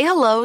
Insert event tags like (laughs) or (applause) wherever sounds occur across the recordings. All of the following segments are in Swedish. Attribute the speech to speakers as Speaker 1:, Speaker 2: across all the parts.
Speaker 1: hello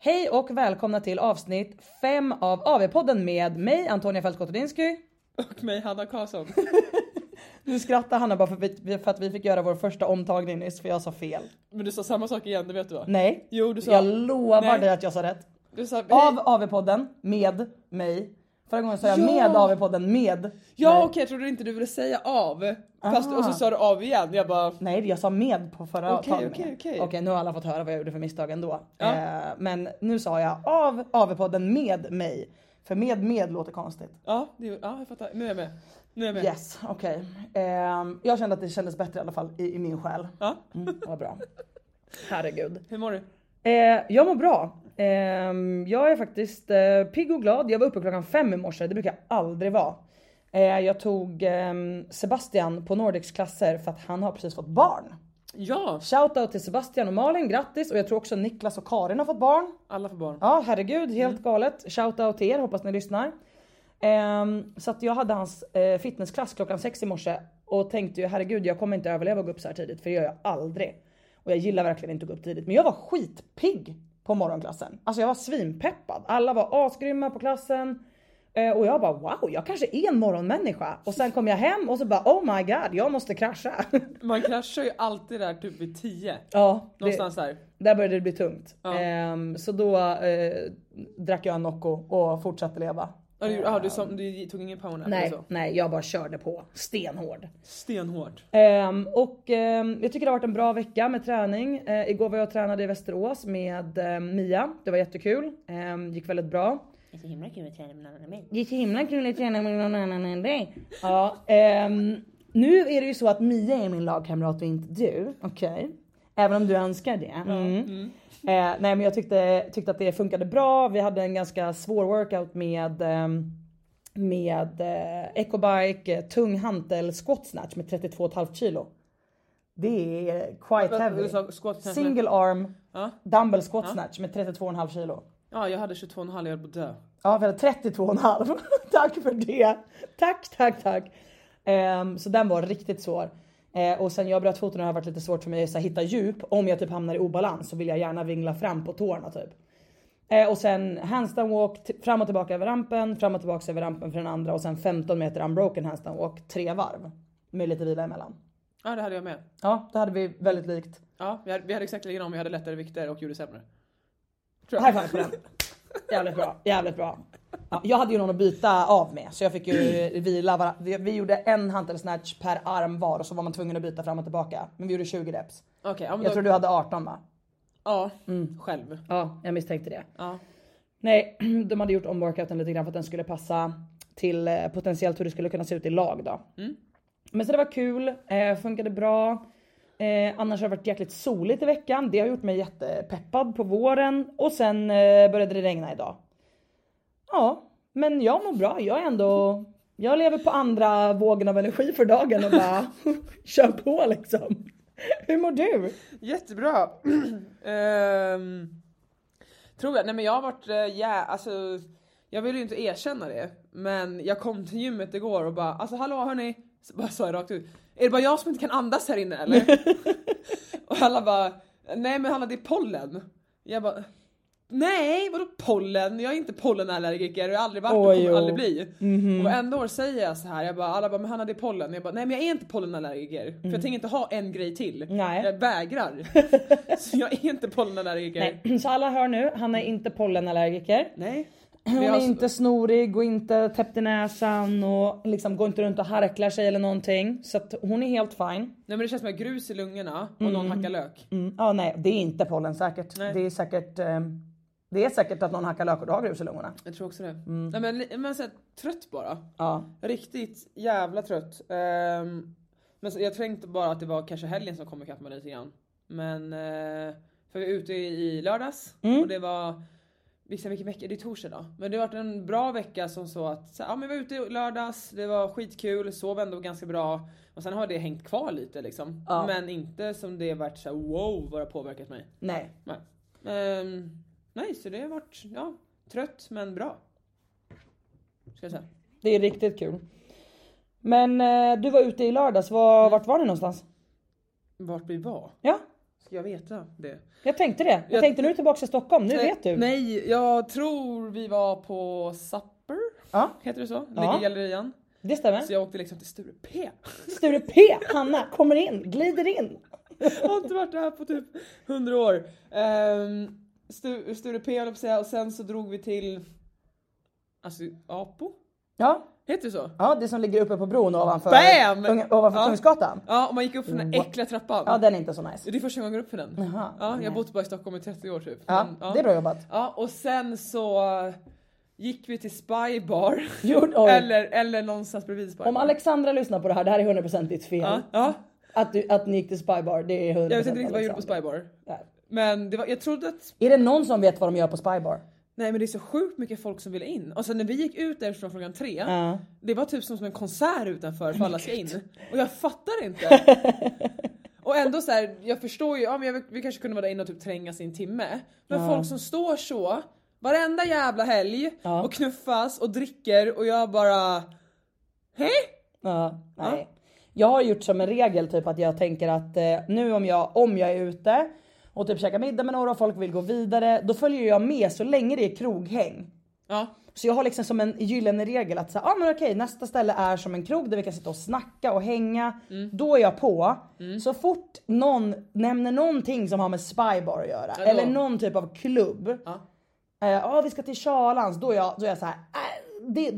Speaker 2: Hej och välkomna till avsnitt 5 av AV-podden med mig Antonia Fältskott-Odinsky.
Speaker 3: Och mig Hanna Karlsson.
Speaker 2: Nu skrattar Hanna bara för, vi, för att vi fick göra vår första omtagning nyss för jag sa fel.
Speaker 3: Men du sa samma sak igen, det vet du va?
Speaker 2: Nej,
Speaker 3: Jo du sa...
Speaker 2: jag lovar
Speaker 3: Nej.
Speaker 2: dig att jag sa rätt.
Speaker 3: Du sa eh, hej.
Speaker 2: Av AV-podden med mig. Förra gången sa jag
Speaker 3: Ja.
Speaker 2: med AV-podden med.
Speaker 3: Ja
Speaker 2: mig.
Speaker 3: okej jag trodde inte du ville säga av. Fast,
Speaker 2: Ah.
Speaker 3: och så sa du av igen. Jag bara...
Speaker 2: Nej jag sa med på förra
Speaker 3: Okej,
Speaker 2: tagningen.
Speaker 3: okej, okej.
Speaker 2: nu har alla fått höra vad jag gjorde för misstag ändå.
Speaker 3: Ja.
Speaker 2: Eh, men nu sa jag av AV-podden med mig. För med med låter konstigt.
Speaker 3: Ja, det, ja jag fattar. Nu är jag med. Nu är jag med.
Speaker 2: Yes, okej. Ehm, jag kände att det kändes bättre i alla fall i, i min själ.
Speaker 3: Ja.
Speaker 2: Mm, vad bra. (laughs) Herregud.
Speaker 3: Hur mår du?
Speaker 2: Eh, jag mår bra. Ehm, jag är faktiskt eh, pigg och glad. Jag var uppe klockan fem i morse, det brukar jag aldrig vara. Eh, jag tog ehm, Sebastian på Nordics klasser för att han har precis fått barn.
Speaker 3: Ja!
Speaker 2: Shoutout till Sebastian och Malin, grattis! Och jag tror också Niklas och Karin har fått barn.
Speaker 3: Alla får barn.
Speaker 2: Ja herregud, helt galet. Shoutout till er, hoppas ni lyssnar. Ehm, så att jag hade hans eh, fitnessklass klockan sex i morse och tänkte ju herregud jag kommer inte överleva att gå upp så här tidigt för det gör jag aldrig. Och jag gillar verkligen inte att gå upp tidigt men jag var skitpigg på morgonklassen. Alltså jag var svinpeppad. Alla var asgrymma på klassen. Eh, och jag bara wow, jag kanske är en morgonmänniska. Och sen kom jag hem och så bara oh my god, jag måste krascha. (laughs)
Speaker 3: Man kraschar ju alltid där typ vid 10.
Speaker 2: ja, det-
Speaker 3: Någonstans där.
Speaker 2: där började det bli tungt.
Speaker 3: Ja.
Speaker 2: Ehm, så då eh, drack jag en Nocco och fortsatte leva.
Speaker 3: Ja du, ja, du, som, du tog ingen power nap eller
Speaker 2: Nej,
Speaker 3: så?
Speaker 2: nej, jag bara körde på stenhård.
Speaker 3: Stenhårt.
Speaker 2: Ehm, och ehm, jag tycker det har varit en bra vecka med träning. Eh, igår var jag och tränade i Västerås med ehm, Mia. Det var jättekul. Ehm, gick väldigt bra.
Speaker 4: Det är så himla kul att träna med någon annan mig.
Speaker 2: Det är så himla kul att träna med någon annan än dig. Ja, ehm, nu är det ju så att Mia är min lagkamrat och inte du. Okej. Även om du önskar det. Mm. Eh, nej men jag tyckte, tyckte att det funkade bra. Vi hade en ganska svår workout med ehm, med eh, Ecobike eh, tung hantel squat snatch med 32,5 kilo. Det är quite
Speaker 3: Vänta,
Speaker 2: heavy.
Speaker 3: du sa squat snatch med-
Speaker 2: Single arm
Speaker 3: Ja.
Speaker 2: dumbbell squat snatch med 32,5 kilo.
Speaker 3: Ja jag hade 22,5 jag höll på att dö.
Speaker 2: Ja, vi hade 32,5. (laughs) tack för det. Tack, tack, tack. Ehm, så den var riktigt svår. Eh, och sen jag bröt foten har det varit lite svårt för mig att så här, hitta djup. Om jag typ hamnar i obalans så vill jag gärna vingla fram på tårna typ. Eh, och sen handstand walk t- fram och tillbaka över rampen, fram och tillbaka över rampen för den andra och sen 15 meter unbroken handstand walk tre varv. Med lite vila emellan.
Speaker 3: Ja det hade jag med.
Speaker 2: Ja, det hade vi väldigt likt.
Speaker 3: Ja vi hade, vi hade exakt likadant men jag hade lättare vikter och gjorde sämre. Tror
Speaker 2: High five på den. Jävligt bra, jävligt bra. Ja, jag hade ju någon att byta av med så jag fick ju vila. Var- vi- vi gjorde en hantel snatch per arm var och så var man tvungen att byta fram och tillbaka. Men vi gjorde 20 reps.
Speaker 3: Okej, ja, men
Speaker 2: Jag Mm.
Speaker 3: då-
Speaker 2: tror du hade 18 va?
Speaker 3: Ja, själv.
Speaker 2: Ja, jag misstänkte det.
Speaker 3: Ja.
Speaker 2: Nej, (clears throat) de hade gjort om workouten lite grann för att den skulle passa till eh, potentiellt hur det skulle kunna se ut i lag då. Men så det var kul, eh, funkade bra. Eh, annars har det varit jäkligt soligt i veckan. Det har gjort mig jättepeppad på våren och sen eh, började det regna idag. Ja, men jag mår bra. Jag är ändå, jag lever på andra vågen av energi för dagen och bara (laughs) kör på liksom. Hur mår du?
Speaker 3: Jättebra! (clears throat) Ehm, tror jag. Nej men jag har varit, eh, ja alltså jag vill ju inte erkänna det men jag kom till gymmet igår och bara alltså hallå hörni, så bara sa jag rakt ut. Är det bara jag som inte kan andas här
Speaker 2: (laughs)
Speaker 3: inne eller? och alla bara nej men Hanna det är pollen. Jag bara Nej, vadå pollen? Jag är inte pollenallergiker och jag har aldrig varit och
Speaker 2: Oj,
Speaker 3: kommer
Speaker 2: jo.
Speaker 3: aldrig bli.
Speaker 2: Mhm.
Speaker 3: Och varenda år säger jag så här, jag bara, alla bara men Hanna det är pollen. Jag bara nej men jag är inte pollenallergiker för jag tänker inte ha en grej till.
Speaker 2: Mm. Nej.
Speaker 3: Jag
Speaker 2: (laughs)
Speaker 3: vägrar. Så jag är inte pollenallergiker. Nej.
Speaker 2: Nej, (clears throat) så alla hör nu, han är inte pollenallergiker.
Speaker 3: Nej.
Speaker 2: Hon
Speaker 3: Vi har-
Speaker 2: är inte snorig och inte täppt i näsan och liksom går inte runt och harklar sig eller någonting. Så att hon är helt fine.
Speaker 3: men det känns som att jag har grus i lungorna och någon hackar lök.
Speaker 2: Mm. Ja nej det är inte pollen säkert. Det är säkert ehm, det är säkert att någon hackar lök och du har grus i lungorna.
Speaker 3: Jag tror också det. Nej, men li- men så här, trött bara.
Speaker 2: Ja.
Speaker 3: Riktigt jävla trött. Ehm, men så, jag tänkte bara att det var kanske helgen som kom ikapp mig lite grann. Men eh, för vi var ute i, i lördags och det var Liksom vilken vecka, det är torsdag då. Men det har varit en bra vecka som så att, så, här, ja men vi var ute i lördags, det var skitkul, sov ändå ganska bra. Och sen har det hängt kvar lite liksom. Men inte som det varit så här, wow vad det har påverkat mig.
Speaker 2: Nej.
Speaker 3: Nej. Ehm, nej, så det har varit ja, trött men bra. Ska jag säga.
Speaker 2: Det är riktigt kul. Men eh, du var ute i lördags, var, vart var ni någonstans?
Speaker 3: Vart vi var?
Speaker 2: Mm. Ja,
Speaker 3: Ska jag veta det?
Speaker 2: jag tänkte det. Jag,
Speaker 3: Jag-
Speaker 2: tänkte nu är du tillbaka till Stockholm, nu
Speaker 3: nej,
Speaker 2: vet du.
Speaker 3: Nej, jag tror vi var på Supper.
Speaker 2: Ja.
Speaker 3: Heter det så? Ligger
Speaker 2: Ja.
Speaker 3: i gallerian.
Speaker 2: Det stämmer.
Speaker 3: Så jag åkte liksom till Sture P. (laughs)
Speaker 2: Sture P, Hanna kommer in, glider in.
Speaker 3: jag har inte varit där på typ 100 år. Ehm, Stu- Sture P höll jag på att säga och sen så drog vi till Alltså Apo?
Speaker 2: Ja,
Speaker 3: Heter det så?
Speaker 2: ja det som ligger uppe på bron ovanför,
Speaker 3: Bam!
Speaker 2: unga- ovanför
Speaker 3: Ja.
Speaker 2: Kungsgatan.
Speaker 3: Ja, och man gick upp för den där äckliga trappan.
Speaker 2: Ja den är inte så nice.
Speaker 3: Det är första gången jag går upp för den.
Speaker 2: Jaha,
Speaker 3: ja, jag har bott bara i Stockholm i 30 år typ.
Speaker 2: Ja,
Speaker 3: Men,
Speaker 2: det är bra jobbat.
Speaker 3: Ja, och sen så eh, gick vi till Spy Bar.
Speaker 2: (laughs) Gjorde- oj.
Speaker 3: eller, eller någonstans bredvid Spy
Speaker 2: Om
Speaker 3: Bar.
Speaker 2: Alexandra lyssnar på det här, det här är 100% ditt fel.
Speaker 3: Ja, ja.
Speaker 2: Att, du, att ni gick till Spybar, det är 100%
Speaker 3: Jag vet inte riktigt vad jag gjorde på
Speaker 2: Alexandra.
Speaker 3: Spy Bar.
Speaker 2: Nej.
Speaker 3: Men det var, jag trodde att,
Speaker 2: Är det någon som vet vad de gör på Spybar?
Speaker 3: nej men det är så sjukt mycket folk som ville in. Och sen när vi gick ut därifrån klockan tre, det var typ som, som en konsert utanför för alla ska in. Och jag fattar inte. Och ändå så här, jag förstår ju, ja, men jag, vi kanske kunde vara där inne och typ trängas i en timme. Men folk som står så varenda jävla helg och knuffas och dricker och jag bara... Hej?
Speaker 2: Ja, nej. Jag har gjort som en regel typ att jag tänker att eh, nu om jag, om jag är ute och typ käkar middag med några och folk vill gå vidare, då följer jag med så länge det är kroghäng.
Speaker 3: Ja.
Speaker 2: Så jag har liksom som en gyllene regel att säga, ah, men okej nästa ställe är som en krog där vi kan sitta och snacka och hänga. Då är jag på. Så fort någon nämner någonting som har med spybar att göra eller någon typ av klubb. Ja eh, ah, vi ska till Charlans. Då är jag, då är jag så här, äh, det,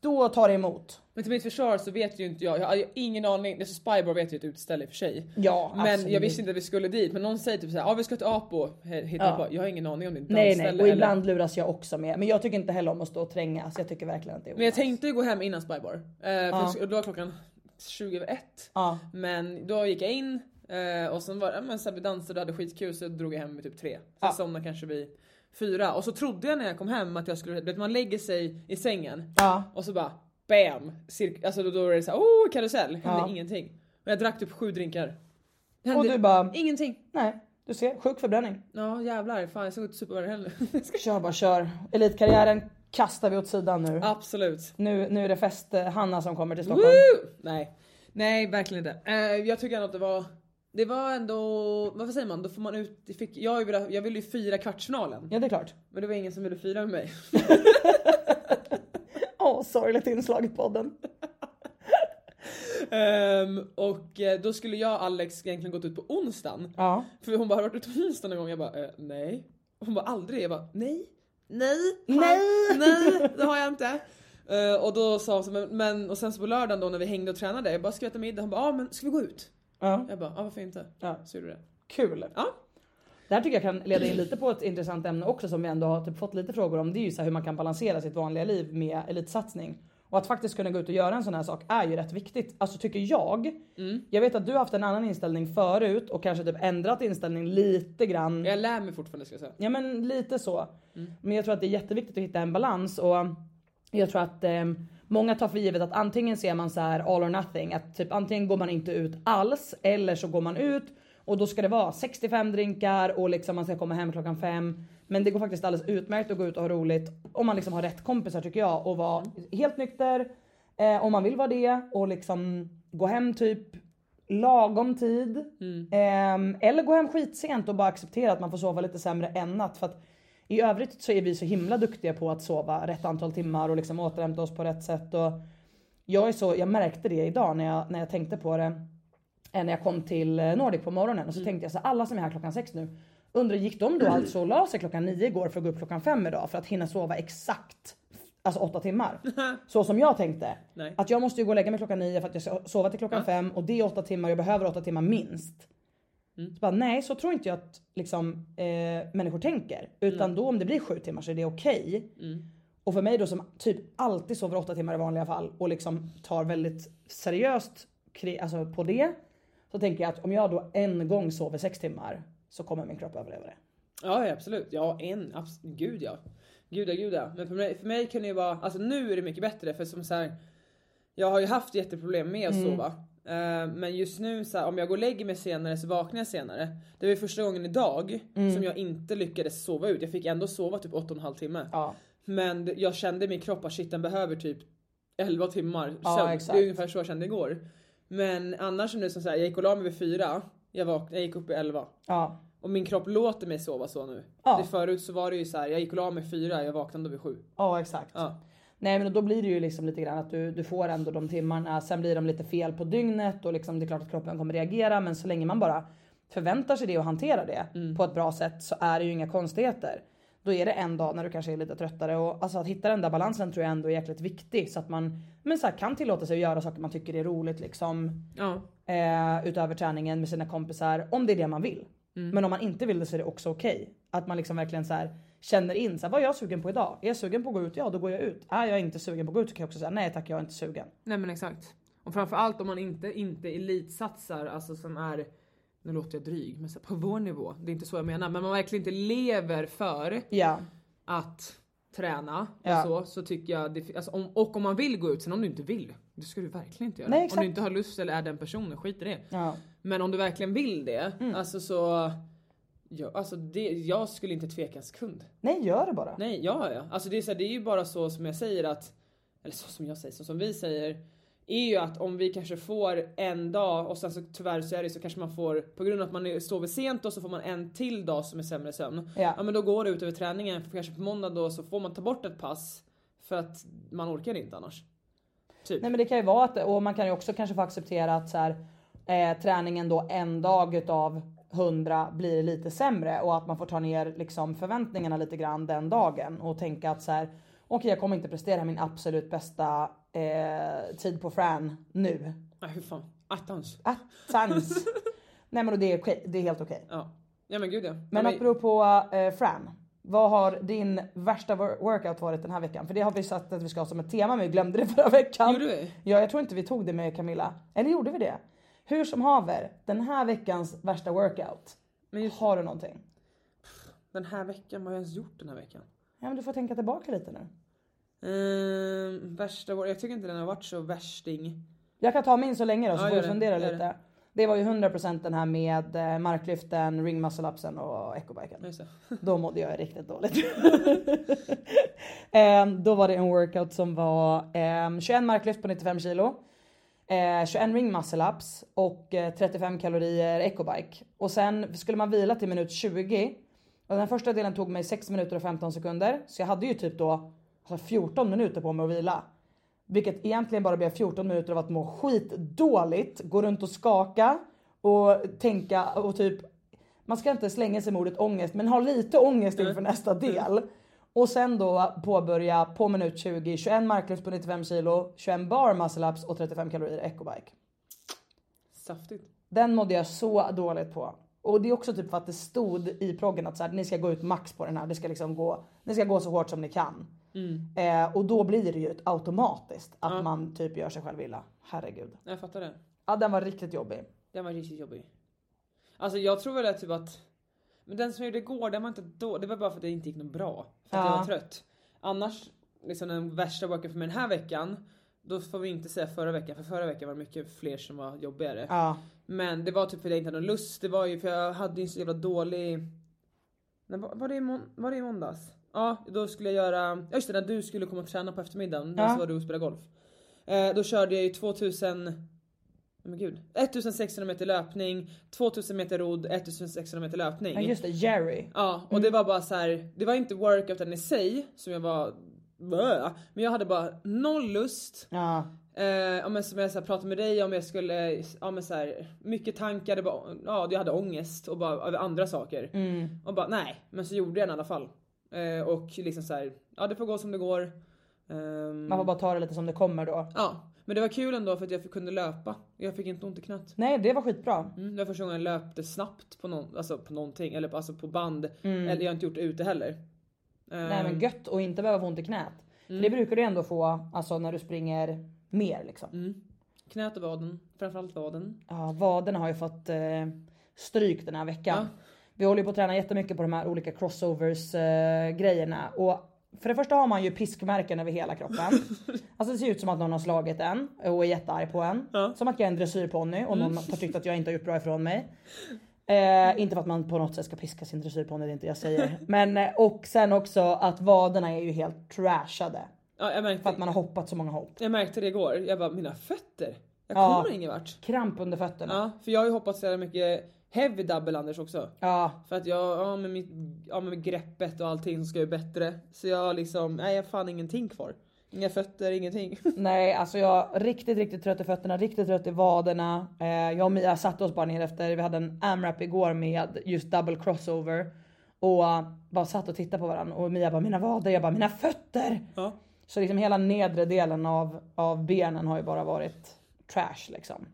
Speaker 2: då tar det emot.
Speaker 3: Men till mitt försvar så vet ju inte jag, jag har ju ingen aning, det är så Spybar vet ju ett utställe i och för sig.
Speaker 2: Ja,
Speaker 3: men
Speaker 2: absolut.
Speaker 3: jag visste inte att vi skulle dit men någon säger typ såhär, ja ah, vi ska till Apo, he- hittar på. Jag har ingen aning om det är ett
Speaker 2: Nej
Speaker 3: dansställe
Speaker 2: nej och ibland luras jag också med. Men jag tycker inte heller om att stå och trängas. Jag tycker verkligen att det är
Speaker 3: Men jag
Speaker 2: onödigt.
Speaker 3: tänkte ju gå hem innan Spybar. Eh, för Då var klockan 20 över ett.
Speaker 2: Ja.
Speaker 3: Men då gick jag in eh, och sen var ja, men så här, vi dansade och hade skitkul så drog jag hem vid typ tre. Sen somnade kanske vid fyra. Och så trodde jag när jag kom hem att jag skulle, du vet man lägger sig i sängen
Speaker 2: Ja.
Speaker 3: och så bara BAM! Cirk- alltså då, då är det såhär oh karusell, hände ingenting. Och jag drack typ sju drinkar. Hände
Speaker 2: Och du bara-
Speaker 3: Ingenting.
Speaker 2: Nej du ser, sjuk förbränning.
Speaker 3: Ja jävlar, fan jag såg inte superbra heller. (laughs)
Speaker 2: Kör bara kör. Elitkarriären kastar vi åt sidan nu.
Speaker 3: Absolut.
Speaker 2: Nu, nu är det fest eh, Hanna som kommer till Stockholm.
Speaker 3: Woo! Nej. Nej, verkligen inte. Eh, jag tycker ändå att det var... Det var ändå... Vad säger man? Då får man ut... det Fick, jag, ville, jag ville ju fira kvartsfinalen.
Speaker 2: Ja det är klart. (laughs)
Speaker 3: Men det var ingen som ville fira med mig. (laughs)
Speaker 2: Åh sorgligt inslag i podden.
Speaker 3: Ehm, och eh, då skulle jag och Alex egentligen gått ut på onsdagen.
Speaker 2: Ja.
Speaker 3: För hon bara, har du varit ute på onsdagen någon gång? Jag bara, eh, nej. Hon bara, aldrig? Jag bara, nej. Nej.
Speaker 2: Nej.
Speaker 3: (laughs) Nej, det har jag inte. Eh, och då sa hon så, men, men och sen så på lördagen då när vi hängde och tränade, jag bara ska vi äta middag? Hon bara, ja ah, men ska vi gå ut?
Speaker 2: Ja.
Speaker 3: Jag bara, ja ah, varför inte?
Speaker 2: Ja.
Speaker 3: Så gjorde vi det.
Speaker 2: Kul.
Speaker 3: Ja.
Speaker 2: Det Det här tycker jag kan leda in lite på ett intressant ämne också som vi ändå har typ fått lite frågor om. Det är ju så här hur man kan balansera sitt vanliga liv med elitsatsning. Och att faktiskt kunna gå ut och göra en sån här sak är ju rätt viktigt. Alltså tycker jag. Jag vet att du har haft en annan inställning förut och kanske typ ändrat inställning lite grann.
Speaker 3: Jag lär mig fortfarande ska jag säga.
Speaker 2: Ja men lite så. Men jag tror att det är jätteviktigt att hitta en balans och jag tror att eh, många tar för givet att antingen ser man så här all or nothing. Att typ antingen går man inte ut alls eller så går man ut och då ska det vara 65 drinkar och liksom man ska komma hem klockan fem. Men det går faktiskt alldeles utmärkt att gå ut och ha roligt om man liksom har rätt kompisar tycker jag och vara helt nykter eh, om man vill vara det och liksom gå hem typ lagom tid. Ehm, eller gå hem skitsent och bara acceptera att man får sova lite sämre en natt. För att I övrigt så är vi så himla duktiga på att sova rätt antal timmar och liksom återhämta oss på rätt sätt. Och jag, är så, jag märkte det idag när jag, när jag tänkte på det. eh, När jag kom till eh, Nordic på morgonen och så tänkte jag så här, alla som är här klockan sex nu. Undrar gick de då alltså och la sig klockan nio igår för att gå upp klockan fem idag för att hinna sova exakt Alltså åtta timmar. Så som jag tänkte.
Speaker 3: Nej.
Speaker 2: Att jag måste ju gå och lägga mig klockan nio för att jag ska sova till klockan fem och det är åtta timmar och jag behöver åtta timmar minst. Så bara, nej så tror inte jag att liksom, eh, människor tänker. Utan då om det blir sju timmar så är det okej. Och för mig då som typ alltid sover åtta timmar i vanliga fall och liksom tar väldigt seriöst kri- alltså på det. Så tänker jag att om jag då en gång sover sex timmar så kommer min kropp överleva det.
Speaker 3: Ja, ja, absolut. Ja, en. Abs- gud ja. Gud ja, gud ja. Men för mig, för mig kan det ju vara, alltså nu är det mycket bättre för som så här. Jag har ju haft jätteproblem med att sova. Eh, men just nu så här, om jag går och lägger mig senare så vaknar jag senare. Det var ju första gången idag som jag inte lyckades sova ut. Jag fick ändå sova typ 8,5 timme.
Speaker 2: Ja.
Speaker 3: Men jag kände i min kropp att shit den behöver typ 11 timmar sömn.
Speaker 2: Ja,
Speaker 3: Det
Speaker 2: exakt.
Speaker 3: är ungefär så jag kände igår. Men annars är det som så här, jag gick och la mig vid 4. Jag, vaknade, jag gick upp vid 11.
Speaker 2: Ja.
Speaker 3: Och min kropp låter mig sova så nu.
Speaker 2: Ja.
Speaker 3: Det förut så var det ju så här, jag gick och la mig fyra, jag vaknade vid sju.
Speaker 2: Ja exakt.
Speaker 3: Ja.
Speaker 2: Nej men då blir det ju liksom lite grann att du, du får ändå de timmarna, sen blir de lite fel på dygnet och liksom det är klart att kroppen kommer reagera men så länge man bara förväntar sig det och hanterar det på ett bra sätt så är det ju inga konstigheter. Då är det en dag när du kanske är lite tröttare och alltså att hitta den där balansen tror jag ändå är jäkligt viktig så att man men så här, kan tillåta sig att göra saker man tycker är roligt liksom
Speaker 3: Ja.
Speaker 2: eh, utöver träningen med sina kompisar om det är det man vill. Men om man inte vill det så är det också okej. Att man liksom verkligen så här, känner in så här, vad är jag sugen på idag? Är jag sugen på att gå ut? Ja då går jag ut. Är jag inte sugen på att gå ut så kan jag också säga nej tack jag är inte sugen.
Speaker 3: Nej men exakt. Och framförallt om man inte, inte elitsatsar, alltså som är, nu låter jag dryg, men så här, på vår nivå. Det är inte så jag menar. Men man verkligen inte lever för
Speaker 2: Ja.
Speaker 3: att träna
Speaker 2: Ja.
Speaker 3: och så, så tycker jag, det, alltså, om, och om man vill gå ut, sen om du inte vill, det ska du verkligen inte göra.
Speaker 2: Nej,
Speaker 3: om
Speaker 2: exakt.
Speaker 3: du inte har lust eller är den personen, skit i det.
Speaker 2: Ja.
Speaker 3: Men om du verkligen vill det, alltså så, ja, alltså det, jag skulle inte tveka en sekund.
Speaker 2: Nej gör det bara.
Speaker 3: Nej, ja ja. Alltså det är, så här, det är ju bara så som jag säger att, eller så som jag säger, så som vi säger. Är ju att om vi kanske får en dag och sen så tyvärr så är det så kanske man får, på grund av att man är- sover sent och så får man en till dag som är sämre sömn.
Speaker 2: Ja.
Speaker 3: ja men då går det ut över träningen, för kanske på måndag då så får man ta bort ett pass. För att man orkar inte annars. Typ.
Speaker 2: Nej men det kan ju vara att, och man kan ju också kanske få acceptera att så här, eh, träningen då en dag utav 100 blir lite sämre och att man får ta ner liksom förväntningarna lite grann den dagen och tänka att så här, okej jag kommer inte prestera min absolut bästa eh, tid på Fran nu.
Speaker 3: Nej hur fan, Ah, attans.
Speaker 2: Attans! Nej men och det är okej, det är helt okej.
Speaker 3: Ja. ja men gud ja. Ja,
Speaker 2: Men apropå eh, Fran. Vad har din värsta wor- workout varit den här veckan? För det har vi satt att vi ska ha som ett tema men vi glömde det (laughs) förra veckan.
Speaker 3: Gjorde vi?
Speaker 2: Ja jag tror inte vi tog det med Camilla. Eller gjorde vi det? Hur som haver, den här veckans värsta workout.
Speaker 3: Men just-
Speaker 2: Har du någonting?
Speaker 3: Den här veckan, vad har jag ens gjort den här veckan?
Speaker 2: Ja men du får tänka tillbaka lite nu.
Speaker 3: Ehm, värsta vår... Jag tycker inte den har varit så värsting.
Speaker 2: Jag kan ta min så länge då så får
Speaker 3: Ja,
Speaker 2: du
Speaker 3: gör det,
Speaker 2: fundera
Speaker 3: gör
Speaker 2: lite. Det. var ju 100% den här med eh, marklyften, ring muscle upsen och ecobiken.
Speaker 3: Just det.
Speaker 2: Då mådde jag riktigt dåligt. (laughs) Ehm, då var det en workout som var ehm, 21 marklyft på 95 kilo. Eh, 21 ring muscle ups och eh, 35 kalorier ecobike. Och sen skulle man vila till minut 20. Och den första delen tog mig 6 minuter och 15 sekunder. Så jag hade ju typ då alltså 14 minuter på mig att vila. Vilket egentligen bara blev 14 minuter av att må skitdåligt, gå runt och skaka och tänka och typ man ska inte slänga sig med ordet ångest men ha lite ångest inför nästa del. Och sen då påbörja på minut 20 21 marklyft på 95 kilo, 21 bar muscle ups och 35 kalorier ecobike.
Speaker 3: Saftigt.
Speaker 2: Den mådde jag så dåligt på. Och det är också typ för att det stod i proggen att så här, ni ska gå ut max på den här. Det ska liksom gå, ni ska gå så hårt som ni kan. Eh, och då blir det ju ett automatiskt att man typ gör sig själv illa. Herregud.
Speaker 3: Jag fattar det.
Speaker 2: Ja den var riktigt jobbig.
Speaker 3: Den var riktigt jobbig. Alltså jag tror väl att typ att men den som jag gjorde igår, den var inte då, det var bara för att det inte gick något bra. För att
Speaker 2: Ja.
Speaker 3: jag var trött. Annars, liksom den värsta worken för mig den här veckan, då får vi inte säga förra veckan, för förra veckan var det mycket fler som var jobbigare.
Speaker 2: Ja.
Speaker 3: Men det var typ för att jag inte hade någon lust, det var ju för jag hade ju så jävla dålig... När, var, var, det i mån, var det i måndags? Ja, då skulle jag göra... Ja just det, när du skulle komma och träna på eftermiddagen, när
Speaker 2: Ja.
Speaker 3: så var du och spelade golf. Eh, då körde jag ju 2000... Oh men gud. 1600 meter löpning, 2000 meter rodd, 1600 meter löpning.
Speaker 2: Ja just det, Jerry.
Speaker 3: Ja, och
Speaker 2: Mm.
Speaker 3: det var bara så här. det var inte workouten i sig som jag var Bäh. men jag hade bara noll lust.
Speaker 2: Ja.
Speaker 3: Eh, ja, men som jag så här, pratade med dig om jag skulle, ja men så här, mycket tankar, det var, ja jag hade ångest och bara över andra saker.
Speaker 2: Mm.
Speaker 3: Och bara nej, men så gjorde jag den i alla fall. Eh, och liksom så här, ja det får gå som det går. Ehm,
Speaker 2: Man får bara ta det lite som det kommer då.
Speaker 3: Ja, men det var kul ändå för att jag fick- kunde löpa. Jag fick inte ont i knät.
Speaker 2: Nej det var skitbra.
Speaker 3: Mm, det var första gången jag löpte snabbt på, någon, alltså på någonting, eller på- alltså på band. Eller jag har inte gjort det ute heller.
Speaker 2: Mm. Nej
Speaker 3: Ehm,
Speaker 2: men gött och inte behöva få ont i knät. För det brukar du ändå få alltså, när du springer mer liksom.
Speaker 3: Knät och vaden, framförallt vaden.
Speaker 2: Ja, vaderna har ju fått eh, stryk den här veckan. Vi håller ju på att träna jättemycket på de här olika crossovers eh, grejerna. Och för det första har man ju piskmärken över hela kroppen. alltså det ser ut som att någon har slagit en och är jättearg på en. Som att jag är en dressyrponny och någon har tyckt att jag inte har gjort bra ifrån mig. Eh, inte för att man på något sätt ska piska sin dressyrponny, det är inte jag säger. Men eh, och sen också att vaderna är ju helt trashade.
Speaker 3: Ja, jag, märkte,
Speaker 2: För att man har hoppat så många hopp.
Speaker 3: jag märkte det igår, jag bara mina fötter. Jag
Speaker 2: Ja.
Speaker 3: kommer ingen vart.
Speaker 2: Kramp under fötterna.
Speaker 3: Ja, för jag har ju hoppat så jävla mycket heavy double unders också.
Speaker 2: Ja.
Speaker 3: För att jag, ja med, mitt, ja med greppet och allting som ska ju bättre. Så jag har liksom, nej jag har fan ingenting kvar. Inga fötter, ingenting. (laughs)
Speaker 2: Nej, alltså jag riktigt, riktigt trött i fötterna, riktigt trött i vaderna. Eh, jag och Mia satte oss bara ner efter, vi hade en AMRAP igår med just double crossover. Och eh, bara satt och tittade på varandra och Mia bara mina vader, jag bara mina fötter.
Speaker 3: Ja.
Speaker 2: Så liksom hela nedre delen av, av benen har ju bara varit trash liksom.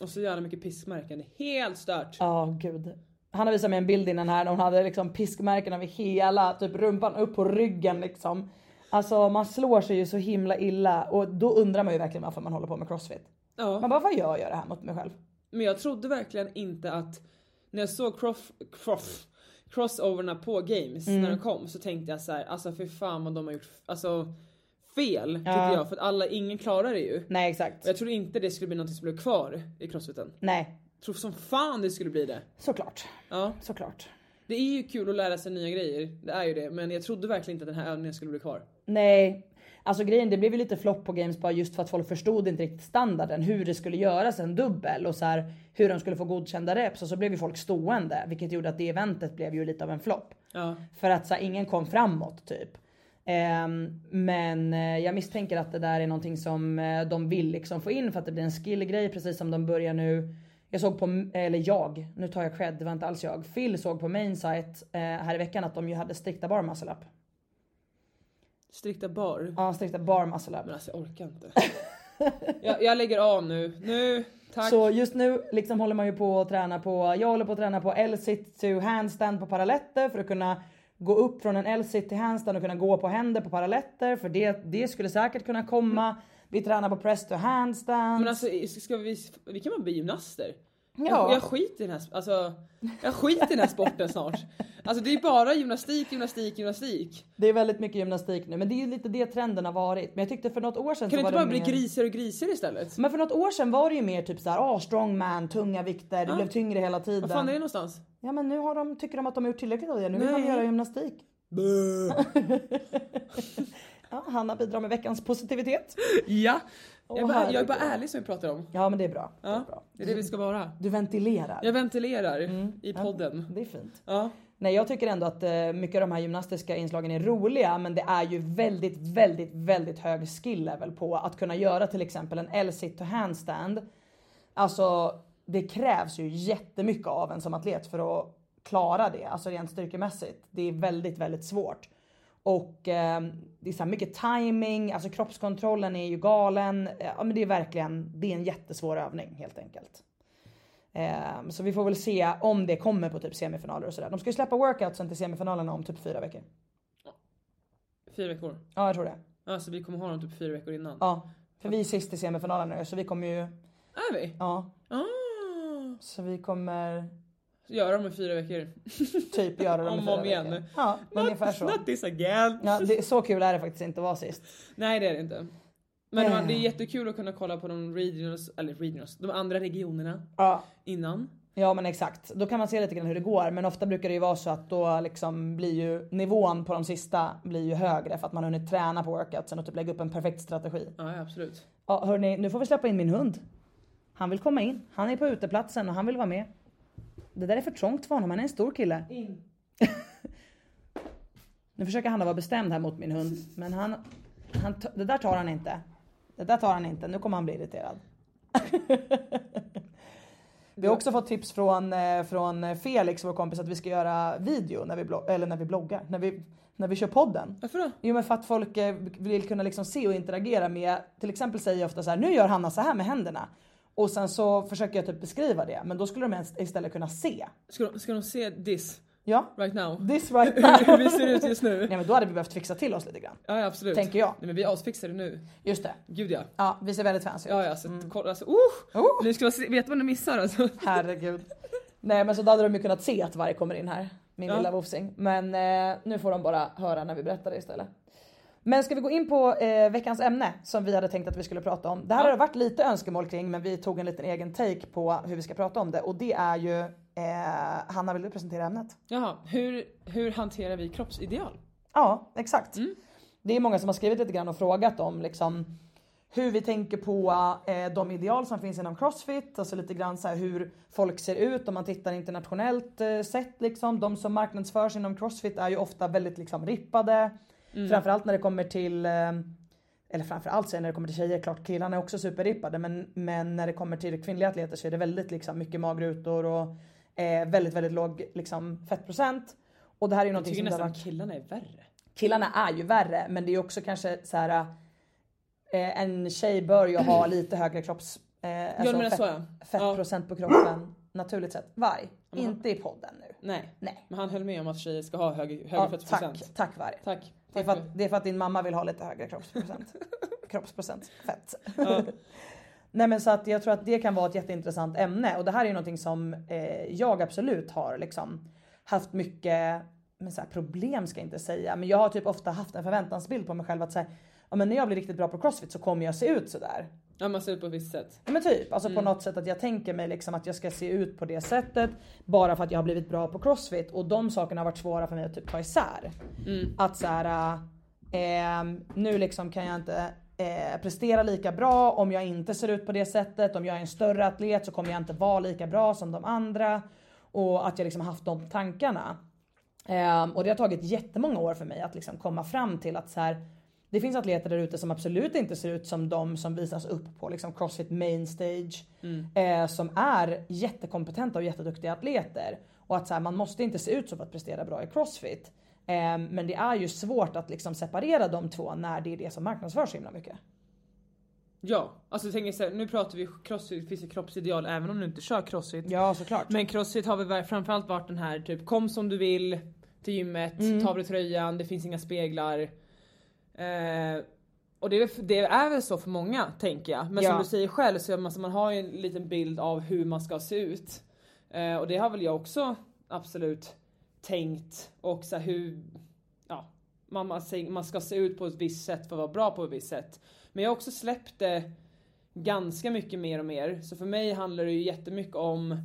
Speaker 3: Och så jävla mycket pissmärken, det är helt stört.
Speaker 2: Ja, gud. Hanna visade mig en bild innan här när hon hade liksom piskmärken över hela typ rumpan upp på ryggen liksom. Alltså man slår sig ju så himla illa och då undrar man ju verkligen varför man håller på med crossfit.
Speaker 3: Ja.
Speaker 2: Man bara vad gör jag det här mot mig själv?
Speaker 3: Men jag trodde verkligen inte att när jag såg croff, croff, crossoverna på games
Speaker 2: Mm.
Speaker 3: när de kom så tänkte jag så här, alltså för fan vad de har gjort alltså, fel tyckte jag för att alla, ingen klarar det ju.
Speaker 2: Nej exakt.
Speaker 3: Och jag trodde inte det skulle bli något som blev kvar i crossfiten.
Speaker 2: Nej,
Speaker 3: Jag tror som fan det skulle bli det.
Speaker 2: såklart.
Speaker 3: Ja.
Speaker 2: Såklart.
Speaker 3: Det är ju kul att lära sig nya grejer, det är ju det. Men jag trodde verkligen inte att den här övningen skulle bli kvar.
Speaker 2: Nej, alltså grejen det blev ju lite flopp på games bara just för att folk förstod inte riktigt standarden hur det skulle göras en dubbel och så här, hur de skulle få godkända reps och så blev ju folk stående vilket gjorde att det eventet blev ju lite av en flopp.
Speaker 3: Ja.
Speaker 2: För att så här, ingen kom framåt typ. Ehm, men eh, jag misstänker att det där är någonting som eh, de vill liksom få in för att det blir en skillgrej precis som de börjar nu. Jag såg på, eller jag, nu tar jag cred, det var inte alls jag. Phil såg på mainsite eh, här i veckan att de ju hade strikta bar muscle up.
Speaker 3: Strikta bar.
Speaker 2: Ja, strikta bar muscle up.
Speaker 3: Men alltså jag orkar inte. (laughs) jag, jag lägger av nu. Nu, tack.
Speaker 2: Så just nu liksom håller man ju på att träna på, jag håller på att träna på L-sit to handstand på paraletter för att kunna gå upp från en L-sit till handstand och kunna gå på händer på paraletter för det, det skulle säkert kunna komma. Vi tränar på press to handstand.
Speaker 3: Men alltså ska vi, vi kan bara bli gymnaster.
Speaker 2: Ja.
Speaker 3: Jag, jag skiter i den här, sp- alltså, jag skiter i den här sporten snart. Alltså det är bara gymnastik, gymnastik, gymnastik.
Speaker 2: Det är väldigt mycket gymnastik nu men det är ju lite det trenden har varit. Men jag tyckte för något år sedan
Speaker 3: Kan det
Speaker 2: så
Speaker 3: inte
Speaker 2: var
Speaker 3: bara bli
Speaker 2: mer...
Speaker 3: grisigare och grisigare istället?
Speaker 2: Men för något år sedan var det ju mer typ såhär ah, strongman, tunga vikter, det blev tyngre hela tiden.
Speaker 3: Vad fan är det någonstans?
Speaker 2: Ja men nu har de, tycker de att de har gjort tillräckligt av det, nu vill de
Speaker 3: Nej.
Speaker 2: göra gymnastik. (laughs) ja, Hanna bidrar med veckans positivitet.
Speaker 3: Ja. Jag är, bara, jag är
Speaker 2: herregud.
Speaker 3: bara ärlig som vi pratar om.
Speaker 2: Ja men det är bra. Det är bra. Mm.
Speaker 3: Ja, det är det vi ska vara.
Speaker 2: Du ventilerar.
Speaker 3: Jag ventilerar i podden.
Speaker 2: Det är fint.
Speaker 3: Ja.
Speaker 2: Nej jag tycker ändå att eh, mycket av de här gymnastiska inslagen är roliga men det är ju väldigt, väldigt, väldigt hög skill level på att kunna göra till exempel en L-sit to handstand. Alltså det krävs ju jättemycket av en som atlet för att klara det, alltså rent styrkemässigt. Det är väldigt, väldigt svårt. Och eh, det är så här mycket timing, alltså kroppskontrollen är ju galen. Ja men det är verkligen, det är en jättesvår övning helt enkelt. Ehm, så vi får väl se om det kommer på typ semifinaler och sådär. De ska ju släppa workoutsen till semifinalerna om typ fyra veckor.
Speaker 3: Fyra veckor.
Speaker 2: Ja jag tror det.
Speaker 3: Ja, så vi kommer ha dem typ fyra veckor innan.
Speaker 2: Ja. För vi är sist i semifinalen nu så vi kommer ju,
Speaker 3: Är vi?
Speaker 2: ja.
Speaker 3: Ah.
Speaker 2: Så vi kommer
Speaker 3: Så Gör dem i fyra veckor.
Speaker 2: typ göra dem i
Speaker 3: Om och
Speaker 2: fyra
Speaker 3: om igen.
Speaker 2: veckor. Ja ungefär
Speaker 3: (laughs)
Speaker 2: så.
Speaker 3: Not this again.
Speaker 2: Ja, det, så kul är det faktiskt inte att vara sist.
Speaker 3: Nej det är det inte. Men man, det
Speaker 2: Eh.
Speaker 3: är jättekul att kunna kolla på de regionals, eller regionals, de andra regionerna
Speaker 2: Ja.
Speaker 3: innan.
Speaker 2: Ja men exakt, då kan man se lite grann hur det går men ofta brukar det ju vara så att då liksom blir ju nivån på de sista blir ju högre för att man har hunnit träna på workoutsen och typ lägga upp en perfekt strategi.
Speaker 3: Ja ja, absolut.
Speaker 2: Ja hörni, nu får vi släppa in min hund. Han vill komma in, han är på uteplatsen och han vill vara med. Det där är för trångt för honom, han är en stor kille. (laughs) nu försöker Hanna vara bestämd här mot min hund men han, han t- det där tar han inte. Det där tar han inte, nu kommer han bli irriterad. (laughs) Vi har också fått tips från, eh, från Felix, vår kompis, att vi ska göra video när vi, blog- eller när vi bloggar, när vi, när vi kör podden.
Speaker 3: Varför då?
Speaker 2: Jo men för att folk eh, vill kunna liksom se och interagera med, till exempel säger jag ofta så här, nu gör Hanna så här med händerna. Och sen så försöker jag typ beskriva det, men då skulle de ens istället kunna se.
Speaker 3: Ska de, ska de se this
Speaker 2: Ja,
Speaker 3: right now?
Speaker 2: this right
Speaker 3: (laughs) Hur
Speaker 2: now.
Speaker 3: vi ser ut just nu?
Speaker 2: Nej men då hade vi behövt fixa till oss lite grann.
Speaker 3: Ja, ja absolut.
Speaker 2: Tänker jag.
Speaker 3: Nej men vi är asfixade nu.
Speaker 2: Just det.
Speaker 3: Gud ja.
Speaker 2: Ja, vi ser väldigt fancy ut.
Speaker 3: Ja ja, så
Speaker 2: Mm.
Speaker 3: att kolla alltså. Uh!
Speaker 2: Oh!
Speaker 3: Nu ska man se, vet vad ni
Speaker 2: (laughs)
Speaker 3: missar alltså.
Speaker 2: Herregud. Nej men så då hade de ju kunnat se att varg kommer in här. Min
Speaker 3: Ja.
Speaker 2: lilla vofsing. Men eh, nu får de bara höra när vi berättar det istället. Men ska vi gå in på eh, veckans ämne som vi hade tänkt att vi skulle prata om. Det här har det varit lite önskemål kring men vi tog en liten egen take på hur vi ska prata om det och det är ju eh, Hanna vill du presentera ämnet?
Speaker 3: Jaha, hur, hur hanterar vi kroppsideal?
Speaker 2: Ja, exakt.
Speaker 3: Mm.
Speaker 2: Det är många som har skrivit lite grann och frågat om liksom, hur vi tänker på eh, de ideal som finns inom Crossfit. Alltså lite grann så här hur folk ser ut om man tittar internationellt eh, sett. Liksom. De som marknadsförs inom Crossfit är ju ofta väldigt liksom, rippade.
Speaker 3: Mm.
Speaker 2: Framförallt när det kommer till eh, eller framförallt säger jag när det kommer till tjejer, klart killarna är också superrippade men, men när det kommer till kvinnliga atleter så är det väldigt liksom, mycket magrutor och eh, väldigt väldigt låg liksom, fettprocent. Och det här är ju
Speaker 3: Jag
Speaker 2: någonting
Speaker 3: tycker
Speaker 2: som det har varit
Speaker 3: nästan killarna är värre.
Speaker 2: killarna är ju värre men det är också kanske så här. eh, En tjej bör ju ha lite högre kropps... Eh,
Speaker 3: du menar så, ja.
Speaker 2: Fettprocent på kroppen naturligt sett. Varg, inte i podden nu.
Speaker 3: Nej.
Speaker 2: Nej.
Speaker 3: Men han höll med om att tjejer ska ha högre, högre
Speaker 2: Ja, tack,
Speaker 3: fettprocent.
Speaker 2: tack varg.
Speaker 3: Tack.
Speaker 2: Det är,
Speaker 3: Tack.
Speaker 2: för att, det är för att din mamma vill ha lite högre kroppsprocent. kroppsprocent fett. (laughs) Nej men så att jag tror att det kan vara ett jätteintressant ämne och det här är ju någonting som eh, jag absolut har liksom haft mycket men så här, problem ska jag inte säga men jag har typ ofta haft en förväntansbild på mig själv att säga ja men när jag blir riktigt bra på crossfit så kommer jag se ut sådär.
Speaker 3: Ja, man ser ut på ett visst sätt.
Speaker 2: Ja men typ, alltså på något sätt att jag tänker mig liksom att jag ska se ut på det sättet bara för att jag har blivit bra på crossfit och de sakerna har varit svåra för mig att typ ta isär. Att så här, eh, nu liksom kan jag inte eh, prestera lika bra om jag inte ser ut på det sättet. Om jag är en större atlet så kommer jag inte vara lika bra som de andra. Och att jag liksom haft de tankarna. Ehm, och det har tagit jättemånga år för mig att liksom komma fram till att så här, det finns atleter där ute som absolut inte ser ut som de som visas upp på liksom Crossfit main stage. Eh, som är jättekompetenta och jätteduktiga atleter. Och att så här, man måste inte se ut så för att prestera bra i Crossfit. Ehm, men det är ju svårt att liksom separera de två när det är det som marknadsförs så himla mycket.
Speaker 3: Ja, alltså tänk er så här, nu pratar vi crossfit, finns ju kroppsideal även om du inte kör crossfit.
Speaker 2: Ja såklart.
Speaker 3: Men crossfit har väl var- framförallt varit den här typ kom som du vill till gymmet,
Speaker 2: Mm.
Speaker 3: ta av dig tröjan, det finns inga speglar. Eh, och det är, väl- det är väl så för många tänker jag. Men
Speaker 2: Ja.
Speaker 3: som du säger själv så är man, så man har ju en liten bild av hur man ska se ut. Eh, och det har väl jag också absolut tänkt och så här, hur ja, man, man, säger- man ska se ut på ett visst sätt för att vara bra på ett visst sätt. Men jag har också släppt det ganska mycket mer och mer. Så för mig handlar det ju jättemycket om,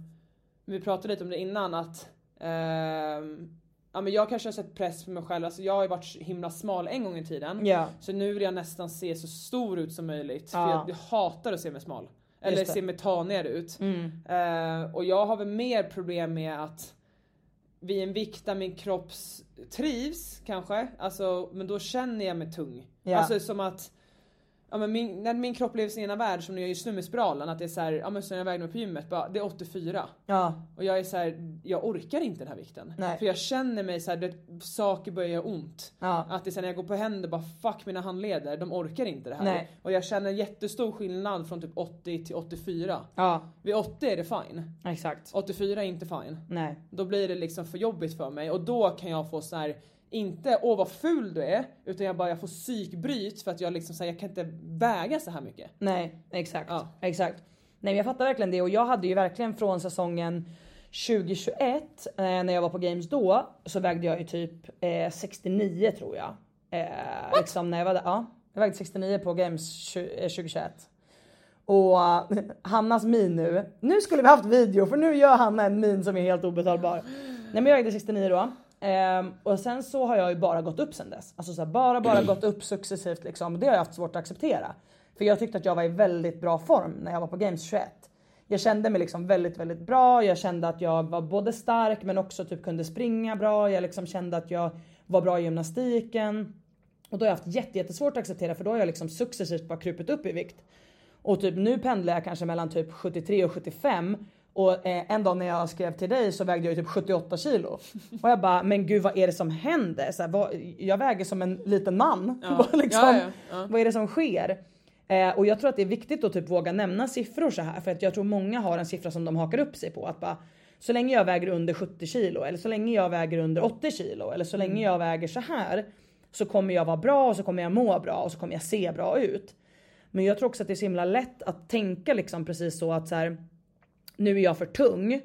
Speaker 3: vi pratade lite om det innan att ehm, ja, men jag kanske har sett press på mig själv, alltså jag har ju varit så himla smal en gång i tiden.
Speaker 2: Ja.
Speaker 3: Så nu vill jag nästan se så stor ut som möjligt. För
Speaker 2: Ja.
Speaker 3: jag, jag hatar att se mig smal. Eller
Speaker 2: Just det. Mm.
Speaker 3: se mig tanigare ut. Eh, och jag har väl mer problem med att vid en vikt där min kropp s- trivs kanske, alltså, men då känner jag mig tung.
Speaker 2: Ja.
Speaker 3: Alltså som att ja, men min, när min kropp lever sin ena värld som när jag just nu med spiralen, att det är såhär, ja men sen jag vägde mig på gymmet, bara, det är 84.
Speaker 2: Ja.
Speaker 3: Och jag är så här, jag orkar inte den här vikten.
Speaker 2: Nej.
Speaker 3: För jag känner mig så här, det, saker börjar göra ont.
Speaker 2: Ja.
Speaker 3: Att det är så här, när jag går på händer bara fuck mina handleder, de orkar inte det här.
Speaker 2: Nej.
Speaker 3: Och jag känner jättestor skillnad från typ 80 till 84.
Speaker 2: Ja,
Speaker 3: Vid 80 är det fine,
Speaker 2: exakt.
Speaker 3: 84 är inte fine.
Speaker 2: Nej.
Speaker 3: Då blir det liksom för jobbigt för mig och då kan jag få så här inte åh vad ful du är utan jag bara jag får psykbryt för att jag liksom så här, jag kan inte väga så här mycket.
Speaker 2: Nej, exakt.
Speaker 3: Ja.
Speaker 2: exakt. Nej men jag fattar verkligen det och jag hade ju verkligen från säsongen 2021 eh, när jag var på games då så vägde jag ju typ eh, 69 tror jag. Eh, liksom när jag var där. Ja, jag vägde 69 på games 20, eh, 2021. Och eh, Hannas min nu. Nu skulle vi haft video för nu gör Hanna en min som är helt obetalbar. Nej men jag vägde 69 då. Ehm, och sen så har jag ju bara gått upp sen dess. Alltså så här, bara bara gått upp successivt liksom. Det har jag haft svårt att acceptera. För jag tyckte att jag var i väldigt bra form när jag var på Games 21. Jag kände mig liksom väldigt, väldigt bra. Jag kände att jag var både stark men också typ kunde springa bra. Jag liksom kände att jag var bra i gymnastiken. Och då har jag haft jätte- jättesvårt att acceptera för då har jag liksom successivt bara krupit upp i vikt. Och typ nu pendlar jag kanske mellan typ 73 och 75. Och eh, en dag när jag skrev till dig så vägde jag ju typ 78 kilo. Och jag bara, men gud vad är det som händer? Så här, vad, jag väger som en liten man. (laughs) Bara liksom,
Speaker 3: Ja, ja, ja.
Speaker 2: Vad är det som sker? Eh, och jag tror att det är viktigt att typ våga nämna siffror så här. För att jag tror många har en siffra som de hakar upp sig på. Att bara, så länge jag väger under 70 kilo eller så länge jag väger under 80 kilo eller så
Speaker 3: Mm.
Speaker 2: länge jag väger så här. Så kommer jag vara bra och så kommer jag må bra och så kommer jag se bra ut. Men jag tror också att det är så himla lätt att tänka liksom precis så att så här, nu är jag för tung.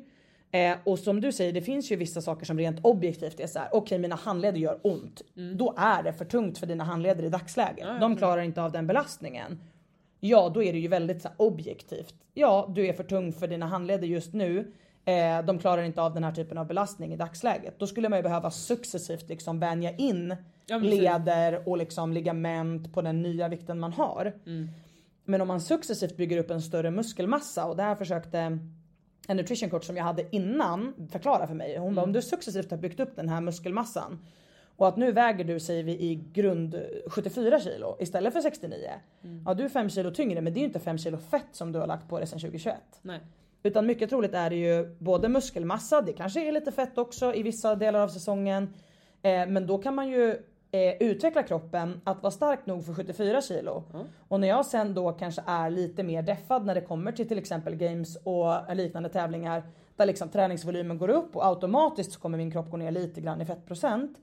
Speaker 2: Eh, och som du säger, det finns ju vissa saker som rent objektivt är så här: okej mina handleder gör ont.
Speaker 3: Mm.
Speaker 2: Då är det för tungt för dina handleder i dagsläget. De klarar inte av den belastningen. Ja, då är det ju väldigt så här, objektivt. Ja, du är för tung för dina handleder just nu. Eh, de klarar inte av den här typen av belastning i dagsläget. Då skulle man ju behöva successivt liksom vänja in
Speaker 3: Ja, men precis.
Speaker 2: leder och liksom ligament på den nya vikten man har. Men om man successivt bygger upp en större muskelmassa och det här försökte en nutrition coach som jag hade innan förklara för mig. Hon bara om du successivt har byggt upp den här muskelmassan och att nu väger du säger vi i grund 74 kilo istället för 69. Ja du är 5 kilo tyngre men det är ju inte 5 kilo fett som du har lagt på dig sedan 2021.
Speaker 3: Nej.
Speaker 2: Utan mycket troligt är det ju både muskelmassa, det kanske är lite fett också i vissa delar av säsongen. Eh, men då kan man ju eh, utveckla kroppen att vara stark nog för 74 kilo. Och när jag sen då kanske är lite mer deffad när det kommer till till exempel games och liknande tävlingar där liksom träningsvolymen går upp och automatiskt så kommer min kropp gå ner lite grann i fettprocent.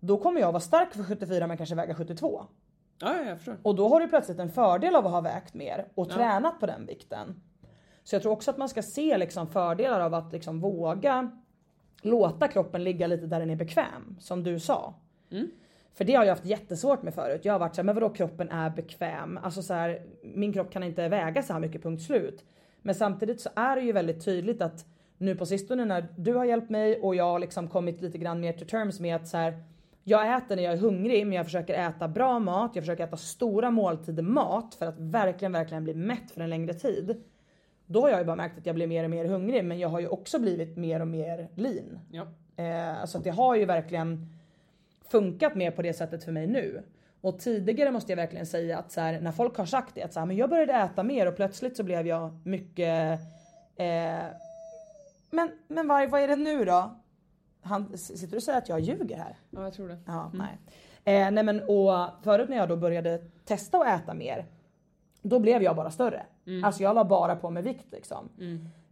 Speaker 2: Då kommer jag vara stark för 74 men kanske väga 72.
Speaker 3: Ja, ja, jag förstår.
Speaker 2: Och då har du plötsligt en fördel av att ha vägt mer och tränat på den vikten. Så jag tror också att man ska se liksom fördelar av att liksom våga låta kroppen ligga lite där den är bekväm. Som du sa. För det har jag haft jättesvårt med förut. Jag har varit såhär, men vadå kroppen är bekväm? Alltså så här, min kropp kan inte väga så här mycket punkt slut. Men samtidigt så är det ju väldigt tydligt att nu på sistone när du har hjälpt mig och jag har liksom kommit lite grann mer till terms med att så här, jag äter när jag är hungrig men jag försöker äta bra mat, jag försöker äta stora måltider mat för att verkligen, verkligen bli mätt för en längre tid. Då har jag ju bara märkt att jag blir mer och mer hungrig men jag har ju också blivit mer och mer lean.
Speaker 3: Ja.
Speaker 2: Eh, så att det har ju verkligen funkat mer på det sättet för mig nu. Och tidigare måste jag verkligen säga att så här, när folk har sagt det att så här, men jag började äta mer och plötsligt så blev jag mycket... Eh, men men vad, vad är det nu då? Han, s- sitter du och säger att jag ljuger här?
Speaker 3: Ja, jag tror det.
Speaker 2: Ja, nej. Eh, nej men och förut när jag då började testa att äta mer. Då blev jag bara större. Alltså jag la bara på mig vikt liksom.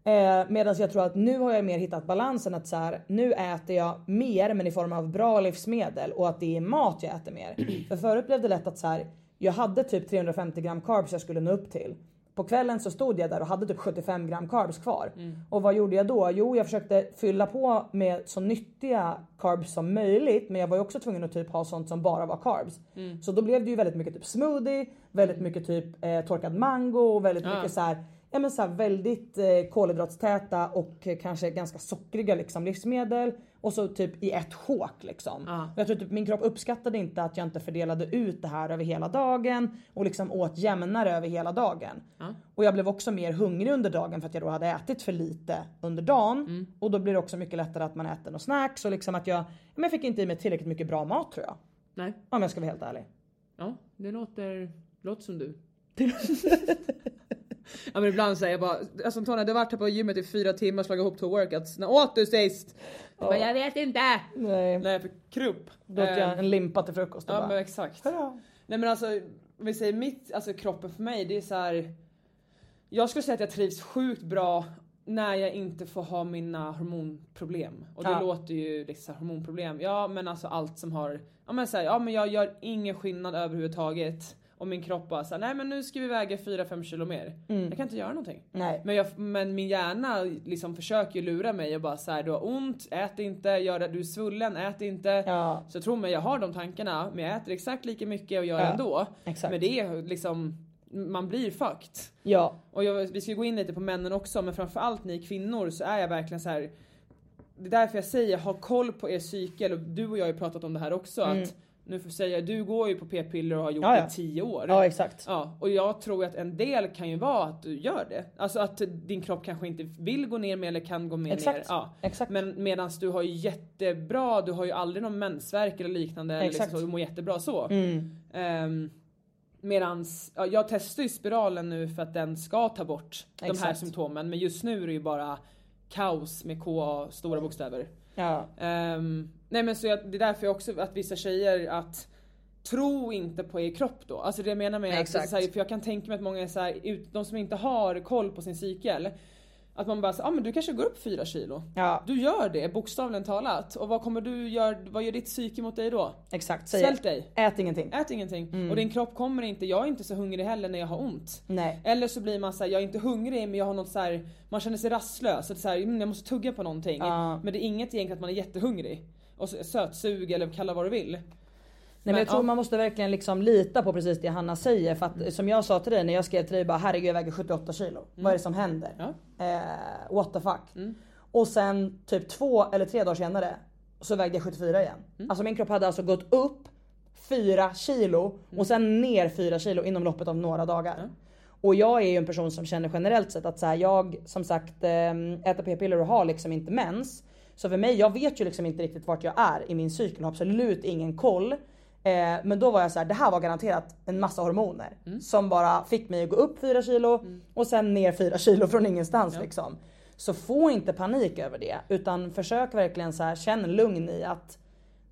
Speaker 2: Eh, Medan jag tror att nu har jag mer hittat balansen att så här, nu äter jag mer men i form av bra livsmedel och att det är mat jag äter mer. För förut blev det lätt att så här, jag hade typ 350 gram carbs jag skulle nå upp till. På kvällen så stod jag där och hade typ 75 gram carbs kvar. Och vad gjorde jag då? Jo jag försökte fylla på med så nyttiga carbs som möjligt men jag var ju också tvungen att typ ha sånt som bara var carbs. Så då blev det ju väldigt mycket typ smoothie, väldigt mycket typ eh, torkad mango och väldigt mycket så här, ja, men så här väldigt eh, kolhydratstäta och eh, kanske ganska sockriga liksom, livsmedel. Och så typ i ett sjok liksom. Jag tror typ min kropp uppskattade inte att jag inte fördelade ut det här över hela dagen och liksom åt jämnare över hela dagen. Och jag blev också mer hungrig under dagen för att jag då hade ätit för lite under dagen.
Speaker 3: Mm.
Speaker 2: Och då blir det också mycket lättare att man äter något snacks och liksom att jag, men jag fick inte i mig tillräckligt mycket bra mat tror jag.
Speaker 3: Nej.
Speaker 2: Om jag ska vara helt ärlig.
Speaker 3: Ja, det låter, låter som du. (laughs) Ja men ibland säger jag bara, alltså Antonija du har varit här på gymmet i fyra timmar och slagit ihop två workouts, när åt du sist? Jag bara, jag vet inte!
Speaker 2: Nej. Ehm,
Speaker 3: Nej för krupp.
Speaker 2: Då åt
Speaker 3: Eh,
Speaker 2: jag en limpa till frukost och
Speaker 3: Ja
Speaker 2: bara,
Speaker 3: men exakt.
Speaker 2: "Hurra."
Speaker 3: Nej men alltså, om vi säger mitt, alltså kroppen för mig det är så här. Jag skulle säga att jag trivs sjukt bra när jag inte får ha mina hormonproblem. Och det
Speaker 2: Ja.
Speaker 3: låter ju liksom så här, hormonproblem, ja men alltså allt som har, ja men så här, ja men jag gör ingen skillnad överhuvudtaget. Och min kropp bara såhär, nej men nu ska vi väga 4-5 kilo mer. Jag kan inte göra någonting.
Speaker 2: Mm. Nej.
Speaker 3: Men, jag, men min hjärna liksom försöker ju lura mig och bara såhär, du har ont, ät inte, gör det, du är svullen, ät inte.
Speaker 2: Ja.
Speaker 3: Så tro mig, jag har de tankarna men jag äter exakt lika mycket och gör
Speaker 2: Ja,
Speaker 3: ändå.
Speaker 2: exakt.
Speaker 3: Men det är liksom, man blir fucked.
Speaker 2: Ja.
Speaker 3: Och jag, vi ska ju gå in lite på männen också men framförallt ni kvinnor så är jag verkligen så här. Det är därför jag säger ha koll på er cykel och du och jag har ju pratat om det här också. Att nu får jag säga, du går ju på p-piller och har gjort
Speaker 2: Mm. Ja, ja.
Speaker 3: det i 10 år.
Speaker 2: ja, exakt.
Speaker 3: Ja, och jag tror att en del kan ju vara att du gör det. Alltså att din kropp kanske inte vill gå ner mer eller kan gå mer ner.
Speaker 2: Exakt.
Speaker 3: Ja.
Speaker 2: Exakt.
Speaker 3: Men medan du har ju jättebra, du har ju aldrig någon mensvärk eller liknande. eller
Speaker 2: Exakt. Mm.
Speaker 3: Liksom, så, du mår jättebra så. Ehm, medans, ja, jag testar ju spiralen nu för att den ska ta bort de här
Speaker 2: Exakt.
Speaker 3: symptomen. Men just nu är det ju bara kaos med KA stora bokstäver.
Speaker 2: Ja.
Speaker 3: Ehm, nej men så jag, det är därför jag också att vissa tjejer att Tro inte på er kropp då. Alltså det jag menar med att,
Speaker 2: Exakt.
Speaker 3: så här, för jag kan tänka mig att många är så här, ut, de som inte har koll på sin cykel. Att man bara säger ah, men du kanske går upp fyra kilo.
Speaker 2: Ja.
Speaker 3: Du gör det bokstavligen talat. Och vad kommer du gör, vad gör ditt psyke mot dig då?
Speaker 2: Exakt. Säger,
Speaker 3: Svält dig.
Speaker 2: ät ingenting.
Speaker 3: Ät ingenting.
Speaker 2: Mm.
Speaker 3: Och din kropp kommer inte, jag är inte så hungrig heller när jag har ont.
Speaker 2: Nej.
Speaker 3: Eller så blir man såhär, jag är inte hungrig men jag har något såhär, man känner sig rastlös. Att så här, "Mm, jag måste tugga på någonting.
Speaker 2: Ja.
Speaker 3: Men det är inget egentligen att man är jättehungrig. Och så, sötsug eller kalla vad du vill.
Speaker 2: Nej, men jag tror
Speaker 3: ja.
Speaker 2: man måste verkligen liksom lita på precis det Hanna säger. För att som jag sa till dig när jag skrev till dig bara herregud jag väger 78 kilo. Vad är det som händer? Eh, what the fuck. Och sen typ två eller tre dagar senare så vägde jag 74 igen. Alltså min kropp hade alltså gått upp 4 kilo och sen ner 4 kilo inom loppet av några dagar. Och jag är ju en person som känner generellt sett att så här, jag som sagt ehm, äter p-piller och har liksom inte mens. Så för mig, jag vet ju liksom inte riktigt vart jag är i min cykel och har absolut ingen koll. Eh, men då var jag så här, det här var garanterat en massa hormoner. Som bara fick mig att gå upp 4 kilo och sen ner 4 kilo från ingenstans liksom. Så få inte panik över det utan försök verkligen så här, känn lugn i att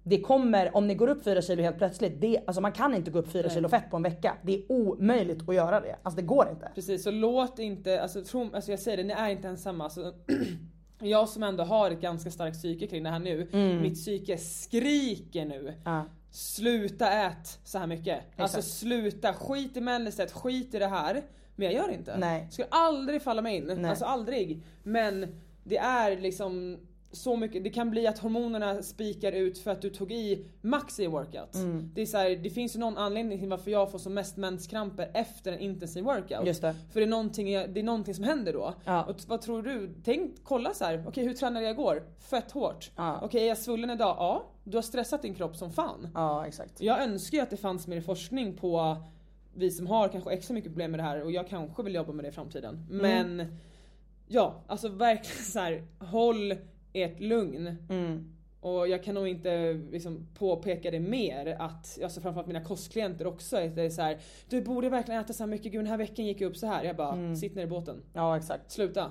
Speaker 2: det kommer, om ni går upp 4 kilo helt plötsligt, det, alltså man kan inte gå upp 4 kilo fett på en vecka. Det är omöjligt att göra det. Alltså det går inte.
Speaker 3: Precis, så låt inte, alltså, tro, alltså jag säger det, ni är inte ensamma. Alltså, (clears throat) jag som ändå har ett ganska starkt psyke kring det här nu, mitt psyke skriker nu.
Speaker 2: Mm. Ja.
Speaker 3: Sluta ät så här mycket. Alltså sluta, skit i mellansätt, skit i det här. Men jag gör inte.
Speaker 2: Nej.
Speaker 3: Skulle aldrig falla mig in.
Speaker 2: Nej.
Speaker 3: Alltså aldrig. Men det är liksom så mycket, det kan bli att hormonerna spikar ut för att du tog i max i en workout.
Speaker 2: Mm.
Speaker 3: Det, är så här, det finns ju någon anledning till varför jag får som mest menskramper efter en intensiv workout.
Speaker 2: Just det.
Speaker 3: För det är någonting, jag- det är någonting som händer då.
Speaker 2: Ja.
Speaker 3: Och t- vad tror du? Tänk, kolla så här. okej hur tränade jag igår? Fett hårt.
Speaker 2: Ja.
Speaker 3: Okej är jag svullen idag? Ja. Du har stressat din kropp som fan.
Speaker 2: Ja exakt.
Speaker 3: Jag önskar ju att det fanns mer forskning på vi som har kanske extra mycket problem med det här och jag kanske vill jobba med det i framtiden.
Speaker 2: Mm.
Speaker 3: Men ja, alltså verkligen så här, håll ert lugn.
Speaker 2: Mm.
Speaker 3: Och jag kan nog inte liksom påpeka det mer att, alltså framförallt mina kostklienter också, att det är så här, du borde verkligen äta så här mycket, gud den här veckan gick jag upp så här. Jag bara, sitt ner i båten.
Speaker 2: Mm. Ja exakt.
Speaker 3: Sluta.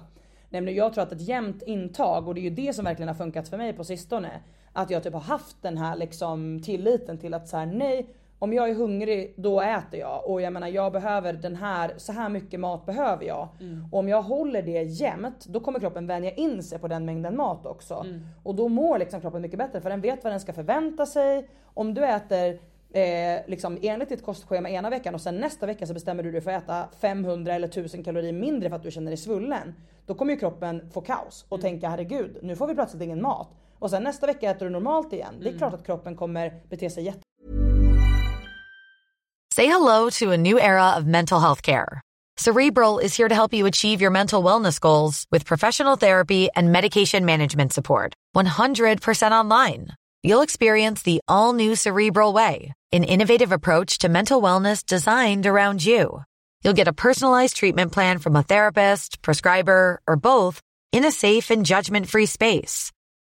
Speaker 2: Nej, men jag tror att ett jämnt intag, och det är ju det som verkligen har funkat för mig på sistone. Att jag typ har haft den här liksom tilliten till att så här, nej, om jag är hungrig då äter jag. Och jag menar jag behöver den här, så här mycket mat behöver jag. Och om jag håller det jämnt då kommer kroppen vänja in sig på den mängden mat också. Och då mår liksom kroppen mycket bättre för den vet vad den ska förvänta sig. Om du äter eh, liksom enligt ditt kostschema ena veckan och sen nästa vecka så bestämmer du dig för att äta 500 eller 1000 kalorier mindre för att du känner dig svullen. Då kommer ju kroppen få kaos och tänka herregud nu får vi plötsligt ingen mat. Och sen nästa vecka äter du normalt igen. Det är klart att kroppen kommer bete sig jätte
Speaker 1: Say hello to a new era of mental health care. Cerebral is here to help you achieve your mental wellness goals with professional therapy and medication management support. 100% online. You'll experience the all new Cerebral Way, an innovative approach to mental wellness designed around you. You'll get a personalized treatment plan from a therapist, prescriber, or both in a safe and judgment free space.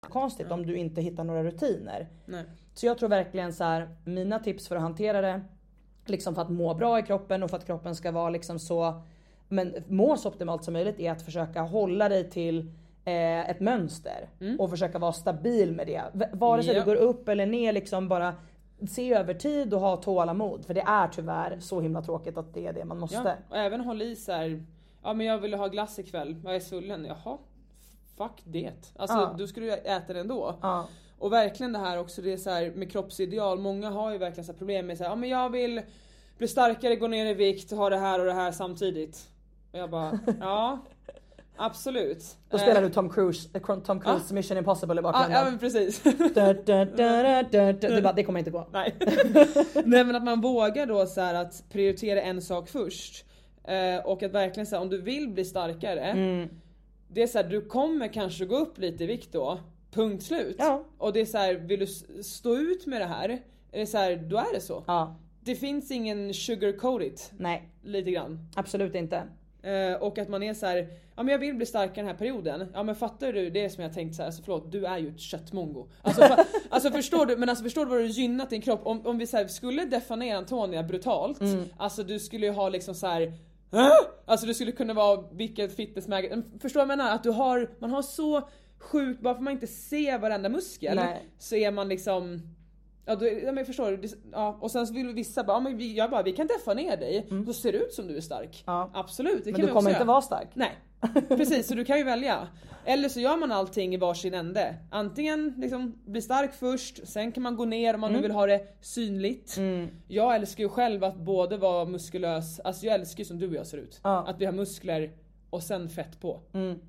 Speaker 2: Konstigt om du inte hittar några rutiner.
Speaker 3: Nej.
Speaker 2: Så jag tror verkligen så här, mina tips för att hantera det, liksom för att må bra i kroppen och för att kroppen ska vara liksom så, men må så optimalt som möjligt är att försöka hålla dig till eh, ett mönster och försöka vara stabil med det. V- Vare sig
Speaker 3: Mm. Ja.
Speaker 2: du går upp eller ner liksom bara se över tid och ha tålamod. För det är tyvärr så himla tråkigt att det är det man måste.
Speaker 3: Ja, och även håll i så här. ja men jag ville ha glass ikväll, jag är svullen. Jaha, fuck det. Alltså
Speaker 2: Ja.
Speaker 3: då skulle jag äta det ändå.
Speaker 2: Ja.
Speaker 3: Och verkligen det här också det är så här med kroppsideal, många har ju verkligen så här problem med så här, ja men jag vill bli starkare, gå ner i vikt, ha det här och det här samtidigt. Och jag bara, (laughs) ja absolut.
Speaker 2: Då spelar du Tom Cruise, eh, Tom Cruise Mission Impossible i
Speaker 3: Ja,
Speaker 2: bakgrunden.
Speaker 3: Ah. ja men precis. (laughs)
Speaker 2: Da, da, da, da, da, da. Du bara, det kommer inte gå.
Speaker 3: Nej.
Speaker 2: (laughs)
Speaker 3: (laughs) Nej men att man vågar då så här att prioritera en sak först. Eh, och att verkligen säga om du vill bli starkare.
Speaker 2: Mm.
Speaker 3: Det är så här, du kommer kanske gå upp lite i vikt då. Punkt slut.
Speaker 2: Ja.
Speaker 3: Och det är så här, vill du s- stå ut med det här? Är det så här, då är det så.
Speaker 2: Ja,
Speaker 3: Det finns ingen sugarcoat it.
Speaker 2: nej,
Speaker 3: Lite grann.
Speaker 2: absolut inte.
Speaker 3: Eh, och att man är så här, ja men jag vill bli starkare den här perioden. Ja men fattar du det som jag tänkt så här, alltså förlåt du är ju ett köttmongo. Alltså,
Speaker 2: (laughs)
Speaker 3: fa- alltså förstår du, men alltså förstår du vad du gynnat din kropp? Om, om vi så här, skulle definiera Antonia brutalt,
Speaker 2: Mm.
Speaker 3: alltså du skulle ju ha liksom så här. "Hä?" Alltså du skulle kunna vara vilket fitnessmag... Förstår du vad jag menar? Att du har, man har så sjukt, bara för man inte ser varenda muskel
Speaker 2: Nej.
Speaker 3: så är man liksom Ja, då, ja men förstår du? Det- Ja, och sen så vill vissa bara, ja, men vi, jag bara vi kan deffa ner dig så ser det ut som du är stark.
Speaker 2: Mm. Ja.
Speaker 3: Absolut, det
Speaker 2: Men
Speaker 3: kan
Speaker 2: du
Speaker 3: vi
Speaker 2: kommer
Speaker 3: också
Speaker 2: inte
Speaker 3: göra.
Speaker 2: vara stark.
Speaker 3: Nej precis, så du kan ju välja. Eller så gör man allting i varsin ände. Antingen liksom bli stark först, sen kan man gå ner om man nu
Speaker 2: Mm.
Speaker 3: vill ha det synligt. Jag älskar ju själv att både vara muskulös, alltså jag älskar ju som du och jag ser ut.
Speaker 2: Ja. Mm.
Speaker 3: Att vi har muskler och sen fett på.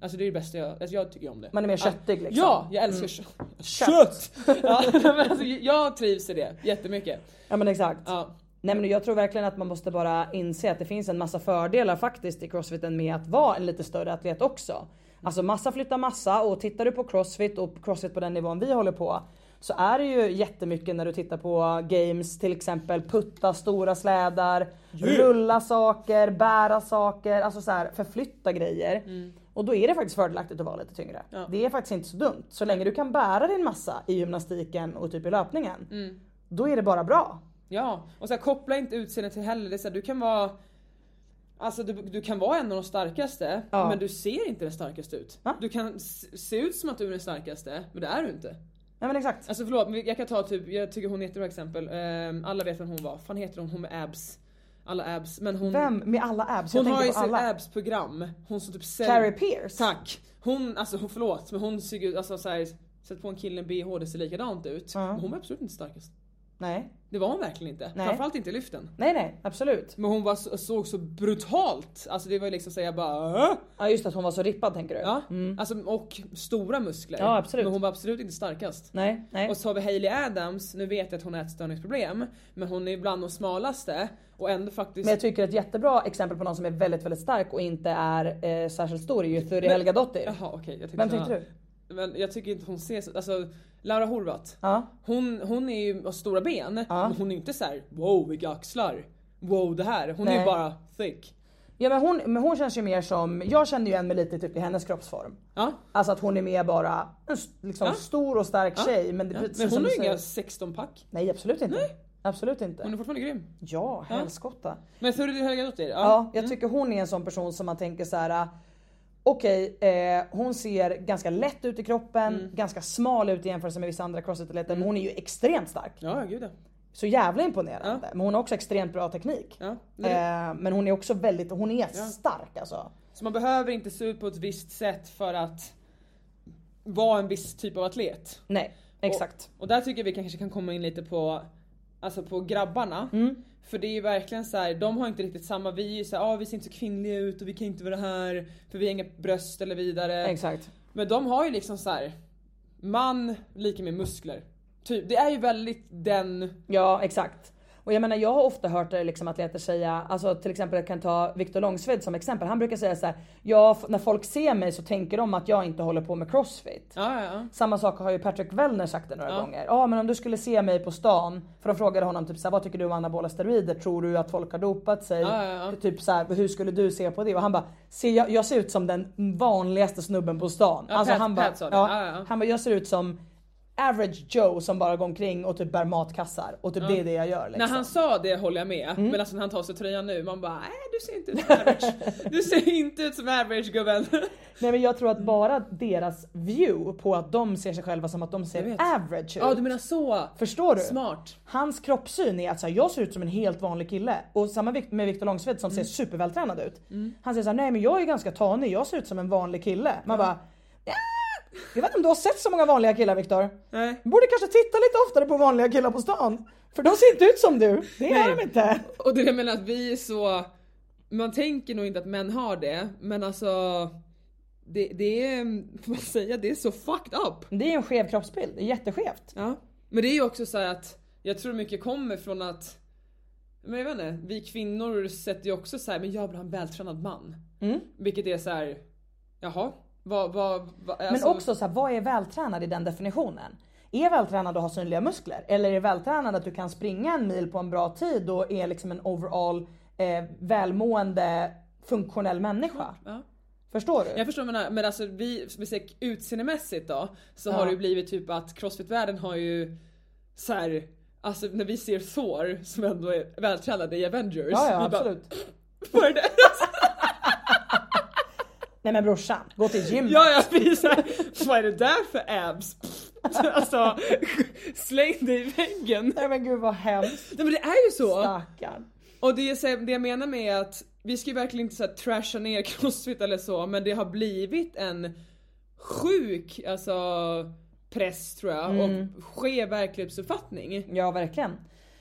Speaker 3: Alltså det är det bästa jag, alltså jag tycker om det.
Speaker 2: Man är mer köttig liksom. Mm.
Speaker 3: Ja, jag älskar kö- kött! (laughs) ja, men alltså, jag trivs i det jättemycket.
Speaker 2: Ja men exakt.
Speaker 3: Ja.
Speaker 2: Nej men jag tror verkligen att man måste bara inse att det finns en massa fördelar faktiskt i crossfiten med att vara en lite större atlet också. Alltså massa flyttar massa och tittar du på crossfit och crossfit på den nivån vi håller på så är det ju jättemycket när du tittar på games till exempel putta stora slädar, rulla saker, bära saker, alltså så här, förflytta grejer. Och då är det faktiskt fördelaktigt att vara lite tyngre. Det är faktiskt inte så dumt. Så länge du kan bära din massa i gymnastiken och typ i löpningen, då är det bara bra.
Speaker 3: Ja, och så här, koppla inte utseendet till heller. Det är så här, du kan vara Alltså du, du kan vara en av de starkaste
Speaker 2: Ja.
Speaker 3: men du ser inte den starkaste ut.
Speaker 2: Va?
Speaker 3: Du kan s- se ut som att du är den starkaste men det är du inte.
Speaker 2: Nej men exakt.
Speaker 3: Alltså förlåt men jag kan ta typ, jag tycker hon är ett jättebra exempel. Ehm, alla vet vem hon var. Fan heter hon? Hon med abs. Alla abs. Men hon,
Speaker 2: Vem med alla abs?
Speaker 3: mm. hon
Speaker 2: jag
Speaker 3: har ju
Speaker 2: tänker på
Speaker 3: sitt
Speaker 2: alla.
Speaker 3: abs-program. Hon som typ säljer...
Speaker 2: Carrie Pierce.
Speaker 3: Tack! Hon, alltså hon, förlåt men hon ser ut, alltså såhär, sätt på en kille en bh det ser likadant ut. Men hon var absolut inte starkast.
Speaker 2: Nej.
Speaker 3: Det var hon verkligen inte.
Speaker 2: Nej.
Speaker 3: Framförallt inte i lyften.
Speaker 2: Nej nej absolut.
Speaker 3: Men hon var, så- såg så brutalt, alltså det var ju liksom såhär jag bara "Äh?"
Speaker 2: Ja just att hon var så rippad tänker du?
Speaker 3: ja. alltså, Och stora muskler.
Speaker 2: Mm. Ja, absolut.
Speaker 3: Men hon var absolut inte starkast.
Speaker 2: Nej nej.
Speaker 3: Och så har vi Hailey Adams, nu vet jag att hon har ätstörningsproblem men hon är bland de smalaste och ändå faktiskt
Speaker 2: Men jag tycker ett jättebra exempel på någon som är väldigt väldigt stark och inte är eh, särskilt stor är ju Thuri Helgadottir.
Speaker 3: Jaha okej. jag
Speaker 2: Vem tyckte du?
Speaker 3: Men jag tycker inte hon ser så, alltså Laura Horvath.
Speaker 2: Ja.
Speaker 3: Hon, hon är ju har stora ben men hon är ju inte så här: wow vilka axlar. Wow det här. Hon är
Speaker 2: Nej.
Speaker 3: ju bara thick.
Speaker 2: Ja men hon, men hon känns ju mer som, jag känner ju en med lite typ i hennes kroppsform.
Speaker 3: Ja.
Speaker 2: Alltså att hon är mer bara en s- liksom
Speaker 3: Ja.
Speaker 2: stor och stark tjej. Men, det,
Speaker 3: Ja.
Speaker 2: precis
Speaker 3: Men
Speaker 2: som
Speaker 3: hon
Speaker 2: du
Speaker 3: har ju inga
Speaker 2: säger-
Speaker 3: 16 pack.
Speaker 2: Nej absolut inte. Absolut inte.
Speaker 3: Hon är fortfarande grym.
Speaker 2: Ja helskotta.
Speaker 3: Men Thurid Högadotter,
Speaker 2: Ja,
Speaker 3: ja. mm.
Speaker 2: jag tycker hon är en sån person som man tänker så här. Okej, eh, hon ser ganska lätt ut i
Speaker 3: Mm.
Speaker 2: kroppen, ganska smal ut i jämförelse med vissa andra crossfit-atleter men hon är ju extremt stark.
Speaker 3: Ja, gud ja.
Speaker 2: så jävla imponerande. Men hon har också extremt bra teknik.
Speaker 3: Ja, men det-
Speaker 2: Eh, men hon är också väldigt, hon är stark alltså.
Speaker 3: Så man behöver inte se ut på ett visst sätt för att vara en viss typ av atlet.
Speaker 2: Nej, exakt.
Speaker 3: Och där tycker jag vi kanske kan komma in lite på, alltså på grabbarna. För det är ju verkligen så här, de har inte riktigt samma, vi är ju såhär, ah, vi ser inte så kvinnliga ut och vi kan inte vara här för vi har inga bröst eller vidare.
Speaker 2: Exakt.
Speaker 3: Men de har ju liksom så här. man lika med muskler. Typ, det är ju väldigt den,
Speaker 2: Ja exakt. Och jag menar jag har ofta hört eh, liksom, atleter säga, alltså till exempel jag kan ta Viktor Långsved som exempel. Han brukar säga så här, ja f- när folk ser mig så tänker de att jag inte håller på med crossfit.
Speaker 3: ja ja ja.
Speaker 2: Samma sak har ju Patrick Wellner sagt det några gånger. Ja men om du skulle se mig på stan, för de frågade honom typ så här, vad tycker du om anabola steroider? Tror du att folk har dopat sig? Typ så här, hur skulle du se på det? Och han bara, ser jag, jag ser ut som den vanligaste snubben på stan. Alltså,
Speaker 3: Ja, Pat-
Speaker 2: han bara,
Speaker 3: Pat sa det. Ja, ja.
Speaker 2: han bara, jag ser ut som average Joe som bara går omkring och typ bär matkassar och typ det är det jag gör. Liksom.
Speaker 3: När han sa det håller jag med, men alltså när han tar sig tröjan nu man bara nej du ser inte ut som (laughs) average. Du ser inte ut som average gubben.
Speaker 2: Nej men jag tror att bara deras view på att de ser sig själva som att de ser average ut.
Speaker 3: Ja du menar så.
Speaker 2: Förstår du?
Speaker 3: Smart.
Speaker 2: Hans kroppssyn är att så här, jag ser ut som en helt vanlig kille. Och samma vikt- med Viktor Långsved som
Speaker 3: Mm.
Speaker 2: ser supervältränad ut. Han säger såhär, nej men jag är ganska tanig, jag ser ut som en vanlig kille. Man bara, ja, jag vet inte om du har sett så många vanliga killar Viktor.
Speaker 3: Nej.
Speaker 2: Du borde kanske titta lite oftare på vanliga killar på stan. För de ser inte ut som du. Det
Speaker 3: Nej.
Speaker 2: gör de inte.
Speaker 3: Och det jag menar att vi är så, man tänker nog inte att män har det men alltså det, det är, (laughs) får man säga, det är så fucked up.
Speaker 2: Det är en skev kroppsbild, det är jätteskevt.
Speaker 3: Ja. Men det är ju också så här att jag tror mycket kommer från att men jag vet inte, vi kvinnor sätter ju också så här, men jag vill ha en vältränad man. Vilket är så här, jaha? Vad, vad, vad, alltså-
Speaker 2: Men också så här, vad är vältränad i den definitionen? Är vältränad att ha synliga muskler? Eller är vältränad att du kan springa en mil på en bra tid och är liksom en overall eh, välmående funktionell människa?
Speaker 3: Ja.
Speaker 2: Förstår du?
Speaker 3: Jag förstår vad du menar, men alltså vi, som vi säger utseendemässigt då så har det ju blivit typ att crossfit-världen har ju så här, alltså när vi ser Thor som ändå är vältränad i Avengers.
Speaker 2: Ja, ja
Speaker 3: vi bara,
Speaker 2: absolut.
Speaker 3: (laughs) Vad är det?
Speaker 2: Nej men brorsan, gå till gymmet.
Speaker 3: Ja, ja, vi är så här, vad är det där för abs? (laughs) alltså släng dig i väggen.
Speaker 2: Nej men gud vad hemskt.
Speaker 3: Nej men det är ju så.
Speaker 2: Stackarn.
Speaker 3: Och det, är så här- det jag menar med är att vi ska ju verkligen inte så här trasha ner (laughs) crossfit eller så men det har blivit en sjuk alltså press tror jag
Speaker 2: Mm.
Speaker 3: och skev verklighetsuppfattning.
Speaker 2: Ja verkligen.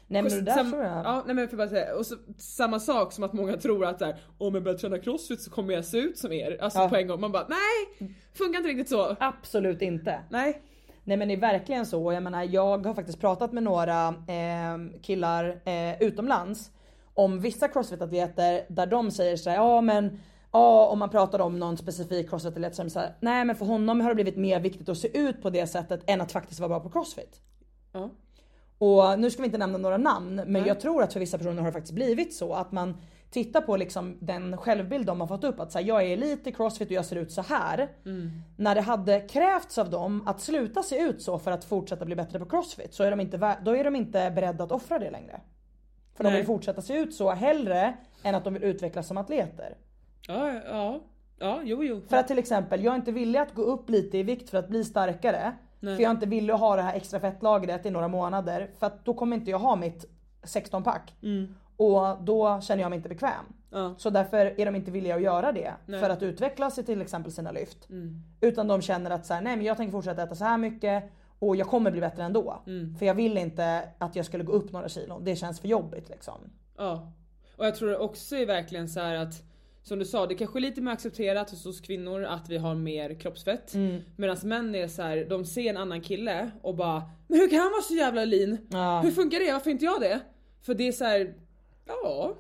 Speaker 2: Nej men det där
Speaker 3: Sam-
Speaker 2: tror jag.
Speaker 3: ja, nej men för bara säga, och så, samma sak som att många tror att så här, om jag börjar träna crossfit så kommer jag se ut som er. Alltså på en gång. Man bara nej! Funkar inte riktigt så.
Speaker 2: Ah. Absolut inte.
Speaker 3: Nej.
Speaker 2: Nej men det är verkligen så. Jag menar jag har faktiskt pratat med några eh, killar eh, utomlands om vissa crossfit-atleter där de säger såhär, ja men ja om man pratar om någon specifik crossfit-atlet så är de såhär, nej men för honom har det blivit mer viktigt att se ut på det sättet än att faktiskt vara bra på crossfit.
Speaker 3: Ja.
Speaker 2: Och nu ska vi inte nämna några namn men jag tror att för vissa personer har det faktiskt blivit så att man tittar på liksom den självbild de har fått upp att så här, jag är elit i crossfit och jag ser ut så här. När det hade krävts av dem att sluta se ut så för att fortsätta bli bättre på crossfit så är de inte, vä- då är de inte beredda att offra det längre. För de
Speaker 3: Nej.
Speaker 2: vill fortsätta se ut så hellre än att de vill utvecklas som atleter.
Speaker 3: Ja, ja. Ja, jo, jo.
Speaker 2: För att till exempel, jag är inte villig att gå upp lite i vikt för att bli starkare. För jag är inte villig att ha det här extra fettlagret i några månader. För att då kommer inte jag ha mitt 16-pack. Och då känner jag mig inte bekväm. Så därför är de inte villiga att göra det. För att utvecklas i till exempel sina lyft. Utan de känner att så här, nej men jag tänker fortsätta äta så här mycket. Och jag kommer bli bättre ändå. För jag vill inte att jag skulle gå upp några kilon. Det känns för jobbigt liksom.
Speaker 3: Ja. Och jag tror det också är verkligen så här att som du sa, det kanske är lite mer accepterat hos oss kvinnor att vi har mer kroppsfett. Medan män är så här, de ser en annan kille och bara Men hur kan han vara så jävla lean? Hur funkar det? Varför inte jag det? För det är så här, ja.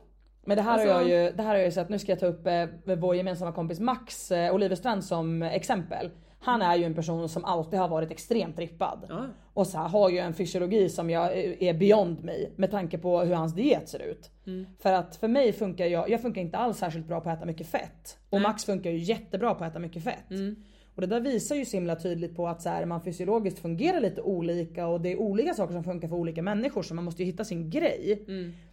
Speaker 2: Men det här, har
Speaker 3: Alltså-
Speaker 2: jag ju, det här har jag ju sett, nu ska jag ta upp eh, vår gemensamma kompis Max eh, Oliverstrand som exempel. Han är ju en person som alltid har varit extremt rippad. Och så här, har ju en fysiologi som jag eh, är beyond mig med tanke på hur hans diet ser ut. För att för mig funkar jag, jag funkar inte alls särskilt bra på att äta mycket fett. Och Max funkar ju jättebra på att äta mycket fett. Och det där visar ju så himla tydligt på att så här, man fysiologiskt fungerar lite olika och det är olika saker som funkar för olika människor så man måste ju hitta sin grej.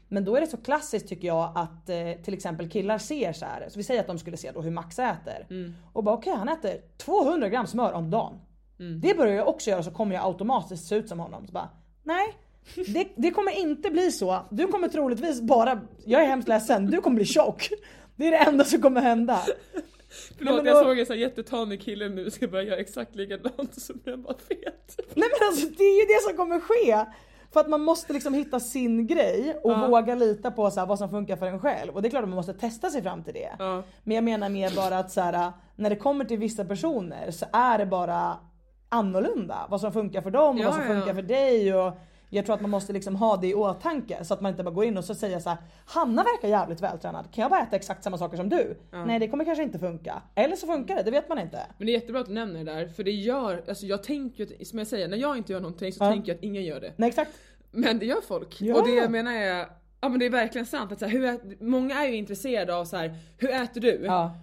Speaker 2: Men då är det så klassiskt tycker jag att eh, till exempel killar ser så här. Så vi säger att de skulle se då hur Max äter. Och bara okej han äter 200 gram smör om dagen. Det börjar jag också göra så kommer jag automatiskt se ut som honom. Så bara, nej Det, det kommer inte bli så. Du kommer troligtvis bara, jag är hemskt ledsen, du kommer bli tjock. Det är det enda som kommer hända.
Speaker 3: Förlåt
Speaker 2: men
Speaker 3: jag
Speaker 2: då-
Speaker 3: såg en sån här jättetanig kille nu ska börja göra exakt likadant och så blir han bara fet.
Speaker 2: Nej men alltså det är ju det som kommer ske. För att man måste liksom hitta sin grej och våga lita på så här, vad som funkar för en själv. Och det är klart att man måste testa sig fram till det.
Speaker 3: Ja.
Speaker 2: Men jag menar mer bara att så här, när det kommer till vissa personer så är det bara annorlunda. Vad som funkar för dem och
Speaker 3: Ja,
Speaker 2: vad som
Speaker 3: ja,
Speaker 2: funkar
Speaker 3: ja.
Speaker 2: för dig. Och jag tror att man måste liksom ha det i åtanke så att man inte bara går in och så säger så här, Hanna verkar jävligt vältränad, kan jag bara äta exakt samma saker som du? Nej det kommer kanske inte funka. Eller så funkar det, det vet man inte.
Speaker 3: Men det är jättebra att du nämner det där för det gör, alltså jag tänker ju att- som jag säger, när jag inte gör någonting så
Speaker 2: Ja.
Speaker 3: tänker jag att ingen gör det.
Speaker 2: Nej exakt.
Speaker 3: Men det gör folk.
Speaker 2: Ja.
Speaker 3: Och det jag menar är, ja men det är verkligen sant att så här, hur ät, många är ju intresserade av så här, hur äter du?
Speaker 2: Ja.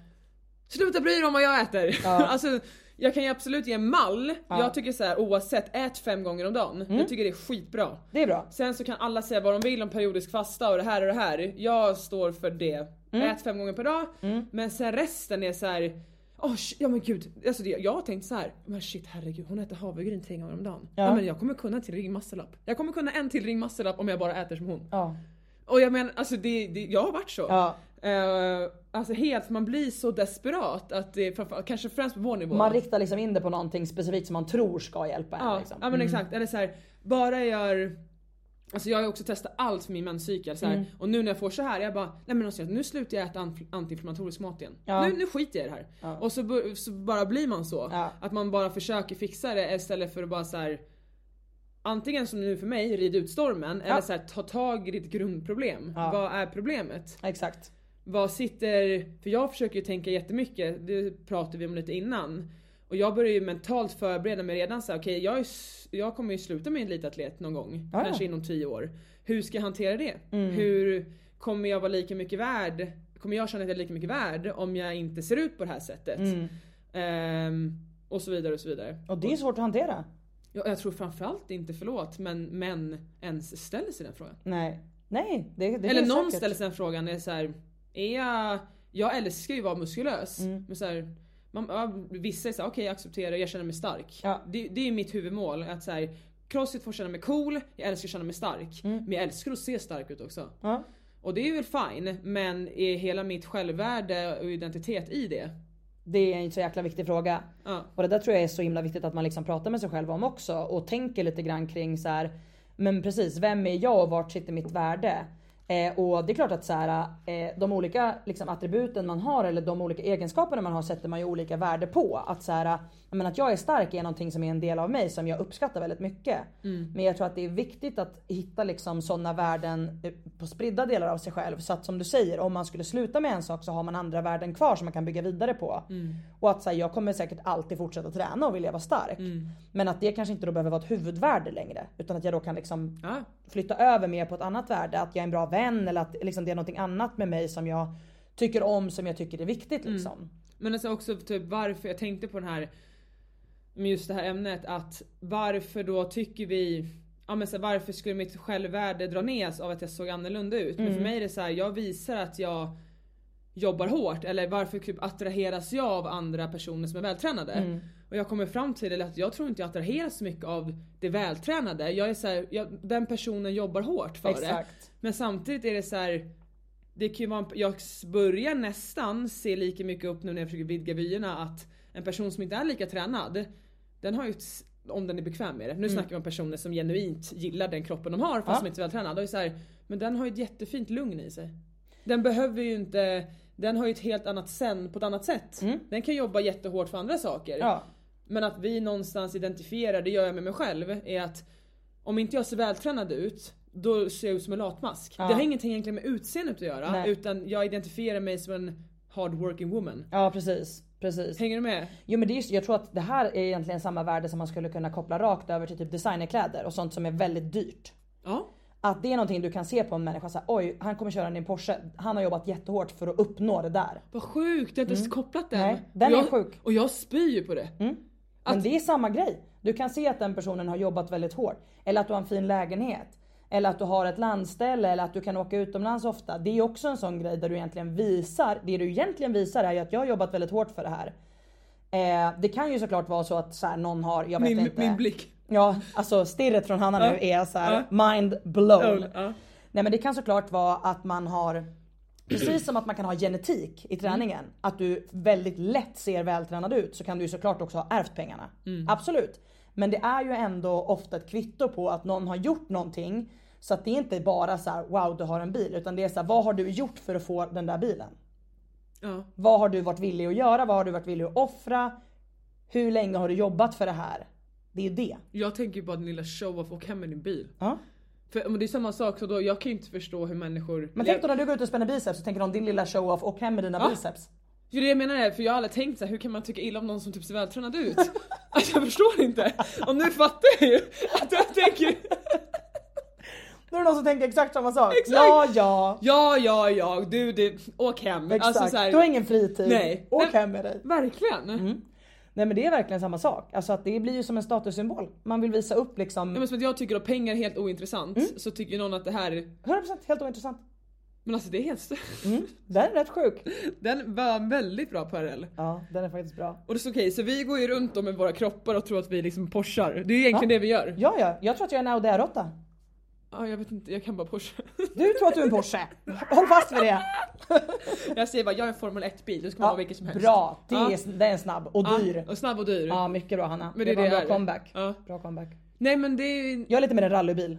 Speaker 3: Sluta bry dig om vad jag äter! (laughs) alltså, jag kan ju absolut ge en mall, jag tycker så här, oavsett, ät fem gånger om dagen. Jag tycker det är skitbra.
Speaker 2: Mm. Det är bra.
Speaker 3: Sen så kan alla säga vad de vill om periodisk fasta och det här och det här. Jag står för det.
Speaker 2: Mm.
Speaker 3: Ät fem gånger per dag. Men sen resten är så här. "Åh, sh- ja men gud, alltså det, jag har tänkt så här. men shit herregud hon äter havregryn tre gånger om dagen. Ja. men jag kommer kunna en till ring muscle-up. Jag kommer kunna en till ring muscle-up om jag bara äter som hon.
Speaker 2: Ja.
Speaker 3: Och jag menar alltså det, det, jag har varit så.
Speaker 2: Ja.
Speaker 3: Eh, alltså helt, man blir så desperat att det, framförallt- kanske främst på vår nivå.
Speaker 2: Man riktar liksom in det på någonting specifikt som man tror ska hjälpa en.
Speaker 3: Ja,
Speaker 2: liksom.
Speaker 3: ja men exakt. Eller så här, bara gör... Alltså jag har ju också testat allt för min menscykel. Så här,
Speaker 2: Mm.
Speaker 3: Och nu när jag får så här, jag bara nej men alltså, nu slutar jag äta anf- antiinflammatorisk mat igen. Nu, nu skiter jag i det här. Och så, bu- så bara blir man så.
Speaker 2: Ja.
Speaker 3: Att man bara försöker fixa det istället för att bara så här. Antingen som nu för mig, rid ut stormen. Eller så här, ta tag i ditt grundproblem. Vad är problemet?
Speaker 2: Exakt.
Speaker 3: Vad sitter... För jag försöker ju tänka jättemycket, det pratade vi om lite innan. Och jag börjar ju mentalt förbereda mig redan så här, okej jag, är s- jag kommer ju sluta med en elitatlet någon gång.
Speaker 2: Ja, Mm. ja.
Speaker 3: Kanske inom 10 år. Hur ska jag hantera det? Hur kommer jag vara lika mycket värd? Kommer jag känna att jag är lika mycket värd om jag inte ser ut på det här sättet? Ehm, och så vidare och så vidare.
Speaker 2: Mm. Och det är svårt att hantera.
Speaker 3: Jag, jag tror framförallt inte, förlåt, men män ens ställer sig den frågan.
Speaker 2: Nej. Nej. Det, det
Speaker 3: Eller
Speaker 2: finns
Speaker 3: någon
Speaker 2: säkert.
Speaker 3: ställer sig den frågan, är så här, är jag, jag älskar ju att vara muskulös.
Speaker 2: Mm.
Speaker 3: Men så här, man, ja, vissa är såhär, okej jag accepterar, jag känner mig stark.
Speaker 2: Ja.
Speaker 3: Det, det är mitt huvudmål. Att så här, crossfit får känna mig cool, jag älskar att känna mig stark. Men jag älskar att se stark ut också.
Speaker 2: Mm. Ja.
Speaker 3: Och det är väl fine, men är hela mitt självvärde och identitet i det?
Speaker 2: Det är en så jäkla viktig fråga.
Speaker 3: Ja.
Speaker 2: Och det där tror jag är så himla viktigt att man liksom pratar med sig själv om också och tänker lite grann kring så här. Men precis, vem är jag och vart sitter mitt värde? Eh, och det är klart att så här, eh, de olika liksom, attributen man har eller de olika egenskaperna man har sätter man ju olika värde på. Att, så här, men att jag är stark är någonting som är en del av mig som jag uppskattar väldigt mycket. Men jag tror att det är viktigt att hitta liksom, sådana värden eh, på spridda delar av sig själv. Så att som du säger, om man skulle sluta med en sak så har man andra värden kvar som man kan bygga vidare på. Och att så här, jag kommer säkert alltid fortsätta träna och vilja vara stark. Men att det kanske inte då behöver vara ett huvudvärde längre. Utan att jag då kan liksom
Speaker 3: Ja.
Speaker 2: flytta över mer på ett annat värde. Att jag är en bra vän eller att liksom det är någonting annat med mig som jag tycker om som jag tycker är viktigt. Liksom.
Speaker 3: Men alltså också typ varför, jag tänkte på den här med just det här ämnet att varför då tycker vi Ja men så här, varför skulle mitt självvärde dra ner av att jag såg annorlunda ut? Men för mig är det så här, jag visar att jag jobbar hårt eller varför typ attraheras jag av andra personer som är vältränade? Och jag kommer fram till det att jag tror inte jag attraheras så mycket av det vältränade. Jag är så här, jag, den personen jobbar hårt för det.
Speaker 2: Exakt.
Speaker 3: Men samtidigt är det så här det kan ju vara en, jag börjar nästan se lika mycket upp nu när jag försöker vidga vyerna att en person som inte är lika tränad, den har ju ett, s- om den är bekväm med det. Nu snackar vi om personer som genuint gillar den kroppen de har fast som inte är vältränad. Då är det så här, men den har ju ett jättefint lugn i sig. Den behöver ju inte, den har ju ett helt annat sen på ett annat sätt. Den kan jobba jättehårt för andra saker.
Speaker 2: Ja.
Speaker 3: Men att vi någonstans identifierar, det gör jag med mig själv, är att om inte jag ser vältränad ut, då ser jag ut som en latmask. Det har ingenting egentligen med utseendet att göra,
Speaker 2: Nej.
Speaker 3: utan jag identifierar mig som en hardworking woman.
Speaker 2: ja precis. precis.
Speaker 3: Hänger du med?
Speaker 2: Jo men det är just, jag tror att det här är egentligen samma värde som man skulle kunna koppla rakt över till typ designerkläder och sånt som är väldigt dyrt.
Speaker 3: Ja.
Speaker 2: Att det är någonting du kan se på en människa såhär, oj han kommer köra en i en Porsche. Han har jobbat jättehårt för att uppnå det där.
Speaker 3: Vad sjukt, jag har inte ens kopplat den.
Speaker 2: Mm. Nej, den
Speaker 3: och
Speaker 2: är
Speaker 3: jag,
Speaker 2: sjuk. Mm.
Speaker 3: Och jag spyr ju på det.
Speaker 2: Men det är samma grej. Du kan se att den personen har jobbat väldigt hårt. Eller att du har en fin lägenhet. Eller att du har ett landställe eller att du kan åka utomlands ofta. Det är också en sån grej där du egentligen visar, det du egentligen visar är ju att jag har jobbat väldigt hårt för det här. Eh, det kan ju såklart vara så att så här, någon har, jag vet
Speaker 3: Min,
Speaker 2: inte.
Speaker 3: min blick.
Speaker 2: Ja, alltså stirret från Hanna nu är så här mind
Speaker 3: Ja,
Speaker 2: blown.
Speaker 3: ja.
Speaker 2: Nej men det kan såklart vara att man har Precis som att man kan ha genetik
Speaker 3: Mm.
Speaker 2: i träningen. Att du väldigt lätt ser vältränad ut så kan du ju såklart också ha ärvt pengarna.
Speaker 3: Mm.
Speaker 2: Absolut. Men det är ju ändå ofta ett kvitto på att någon har gjort någonting. Så att det är inte bara så här: wow du har en bil. Utan det är så här, vad har du gjort för att få den där bilen?
Speaker 3: Ja.
Speaker 2: Vad har du varit villig att göra? Vad har du varit villig att offra? Hur länge har du jobbat för det här? Det är ju det.
Speaker 3: Jag tänker ju bara den lilla show-off, åk hem med din bil.
Speaker 2: Ja.
Speaker 3: För, men det är samma sak, så då, jag kan ju inte förstå hur människor...
Speaker 2: Men tänk då när du går ut och spänner biceps så tänker de din lilla show-off och hem med dina
Speaker 3: Ja.
Speaker 2: biceps.
Speaker 3: För det jag menar är, för jag har aldrig tänkt så här, hur kan man tycka illa om någon som typ ser vältränad ut? (laughs) Alltså jag förstår inte. Och nu fattar jag ju att jag tänker
Speaker 2: Nu är det någon som tänker exakt samma sak.
Speaker 3: Exakt.
Speaker 2: Ja, ja.
Speaker 3: ja, ja, ja, du, det, åk hem.
Speaker 2: Exakt.
Speaker 3: Alltså, så här,
Speaker 2: Du har ingen Mm. fritid.
Speaker 3: Nej.
Speaker 2: Åk
Speaker 3: Nej.
Speaker 2: hem med dig.
Speaker 3: Verkligen.
Speaker 2: Nej men det är verkligen samma sak. Alltså att det blir ju som en statussymbol. Man vill visa upp liksom
Speaker 3: Ja, men som att jag tycker att pengar är helt ointressant
Speaker 2: Mm.
Speaker 3: så tycker någon att det här,
Speaker 2: 100% helt ointressant.
Speaker 3: men alltså det är helt
Speaker 2: Den är rätt sjuk.
Speaker 3: (laughs) Den var en väldigt bra parallell.
Speaker 2: Ja den är faktiskt bra.
Speaker 3: Och det är så okej, så vi går ju runt då med våra kroppar och tror att vi liksom Porschar. Det är ju egentligen det vi gör. Ja.
Speaker 2: Ja ja, jag tror att jag är en Audi-råtta.
Speaker 3: jag vet inte, jag kan bara Porsche.
Speaker 2: Du tror att du är en Porsche. Håll fast vid det.
Speaker 3: (laughs) jag säger bara, jag är en Formel 1 bil, du ska vara
Speaker 2: Ja,
Speaker 3: vilken som helst.
Speaker 2: bra, det
Speaker 3: Ja.
Speaker 2: är, det är en snabb och
Speaker 3: Ja,
Speaker 2: dyr.
Speaker 3: Och snabb och dyr.
Speaker 2: Ja mycket bra Hanna.
Speaker 3: Men
Speaker 2: det,
Speaker 3: det
Speaker 2: var
Speaker 3: är
Speaker 2: en
Speaker 3: det
Speaker 2: bra
Speaker 3: jag är.
Speaker 2: comeback.
Speaker 3: Ja.
Speaker 2: bra comeback.
Speaker 3: Nej men det är ju...
Speaker 2: Jag är lite mer en rallybil.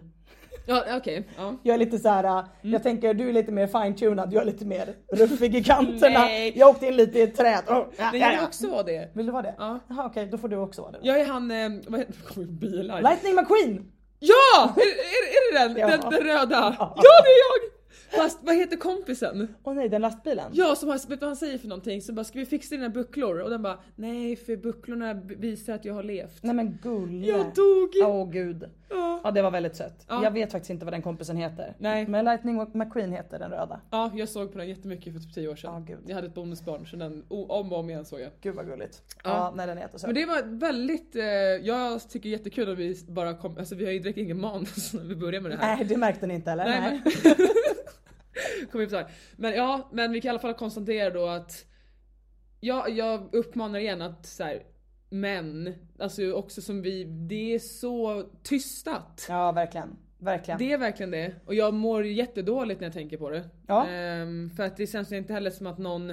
Speaker 3: Ja okej. Ja.
Speaker 2: Jag är lite så här. äh,
Speaker 3: Mm.
Speaker 2: jag tänker du är lite mer fine-tunad, jag är lite mer ruffig i kanterna.
Speaker 3: (laughs) Nej.
Speaker 2: jag åkte in lite i ett träd. Oh, ja,
Speaker 3: Nej
Speaker 2: ja,
Speaker 3: jag vill
Speaker 2: ja.
Speaker 3: också vara det.
Speaker 2: Vill du vara det?
Speaker 3: Ja.
Speaker 2: Jaha okej, då får du också vara det. då.
Speaker 3: Jag är han, eh, vad heter (laughs) kommer ihåg bilar.
Speaker 2: Lightning McQueen!
Speaker 3: Ja! Är, är, är det den?
Speaker 2: Ja.
Speaker 3: den? Den röda? Ja det är jag! Fast vad heter kompisen?
Speaker 2: Åh nej, den lastbilen.
Speaker 3: Ja som har, vet du vad han säger för någonting? Så bara ska vi fixa dina bucklor? Och den bara nej för bucklorna b- visar att jag har levt.
Speaker 2: Nej men gulle.
Speaker 3: Jag dog!
Speaker 2: Åh gud.
Speaker 3: Ja.
Speaker 2: Ja det var väldigt sött.
Speaker 3: Ja.
Speaker 2: Jag vet faktiskt inte vad den kompisen heter.
Speaker 3: Nej.
Speaker 2: Men Lightning McQueen heter den röda.
Speaker 3: Ja jag såg på den jättemycket för typ 10 år sedan.
Speaker 2: Ja, gud.
Speaker 3: Jag hade ett bonusbarn så den o- om och om igen såg jag.
Speaker 2: Gud vad gulligt. Ja,
Speaker 3: Ja.
Speaker 2: nej den är jättesöt.
Speaker 3: Men det var väldigt, eh, jag tycker jättekul att vi bara kom, alltså vi har ju direkt ingen (laughs) manus när vi börjar med det här.
Speaker 2: Nej det märkte ni inte eller?
Speaker 3: Nej, Men, (laughs) kom upp så här. men ja, men vi kan i alla fall konstatera då att ja, jag uppmanar igen att så här, män, alltså också som vi, det är så tystat.
Speaker 2: Ja verkligen. Verkligen.
Speaker 3: Det är verkligen det. Och jag mår jättedåligt när jag tänker på det.
Speaker 2: Ja.
Speaker 3: Ehm, för att det känns inte heller som att någon,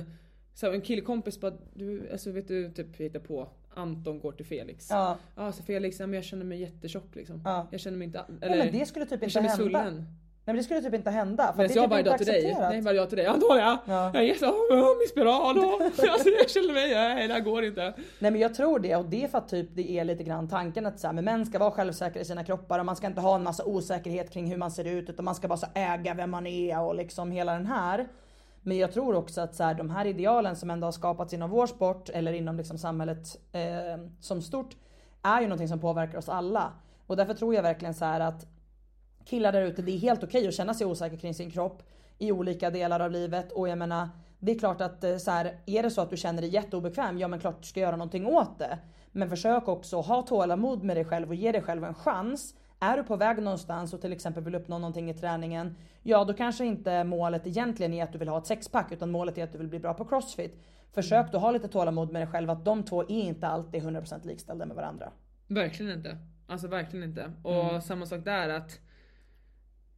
Speaker 3: så här, en killkompis bara, du, alltså vet du, typ hittar på Anton går till Felix.
Speaker 2: Ja.
Speaker 3: Ja, så Felix, ja, men jag känner mig jättetjock liksom.
Speaker 2: Ja.
Speaker 3: Jag känner mig inte, eller,
Speaker 2: Nej men det skulle typ
Speaker 3: jag
Speaker 2: inte
Speaker 3: känner mig
Speaker 2: hända.
Speaker 3: svullen.
Speaker 2: Nej men det skulle typ inte hända. För
Speaker 3: Medan
Speaker 2: det är
Speaker 3: jag
Speaker 2: typ
Speaker 3: bara
Speaker 2: inte
Speaker 3: idag till dig.
Speaker 2: accepterat.
Speaker 3: Nej bara idag till dig. Antonija!
Speaker 2: Ja.
Speaker 3: Jag är så, åh, min spiral! åh. (laughs) Alltså, jag känner mig, nej det här går inte.
Speaker 2: Nej men jag tror det och det är för att typ det är lite grann tanken att så här, men män ska vara självsäkra i sina kroppar och man ska inte ha en massa osäkerhet kring hur man ser ut utan man ska bara så äga vem man är och liksom hela den här. Men jag tror också att så här, de här idealen som ändå har skapats inom vår sport eller inom liksom samhället eh, som stort är ju någonting som påverkar oss alla. Och därför tror jag verkligen så här att killar där ute, det är helt okej att känna sig osäker kring sin kropp i olika delar av livet. Och jag menar, det är klart att eh, så här, är det så att du känner dig jätteobekväm, ja men klart du ska göra någonting åt det. Men försök också ha tålamod med dig själv och ge dig själv en chans. Är du på väg någonstans och till exempel vill uppnå någonting i träningen, ja då kanske inte målet egentligen är att du vill ha ett sexpack utan målet är att du vill bli bra på crossfit. Försök då ha lite tålamod med dig själv att de två är inte alltid 100% likställda med varandra.
Speaker 3: Verkligen inte. Alltså verkligen inte. Och samma sak där att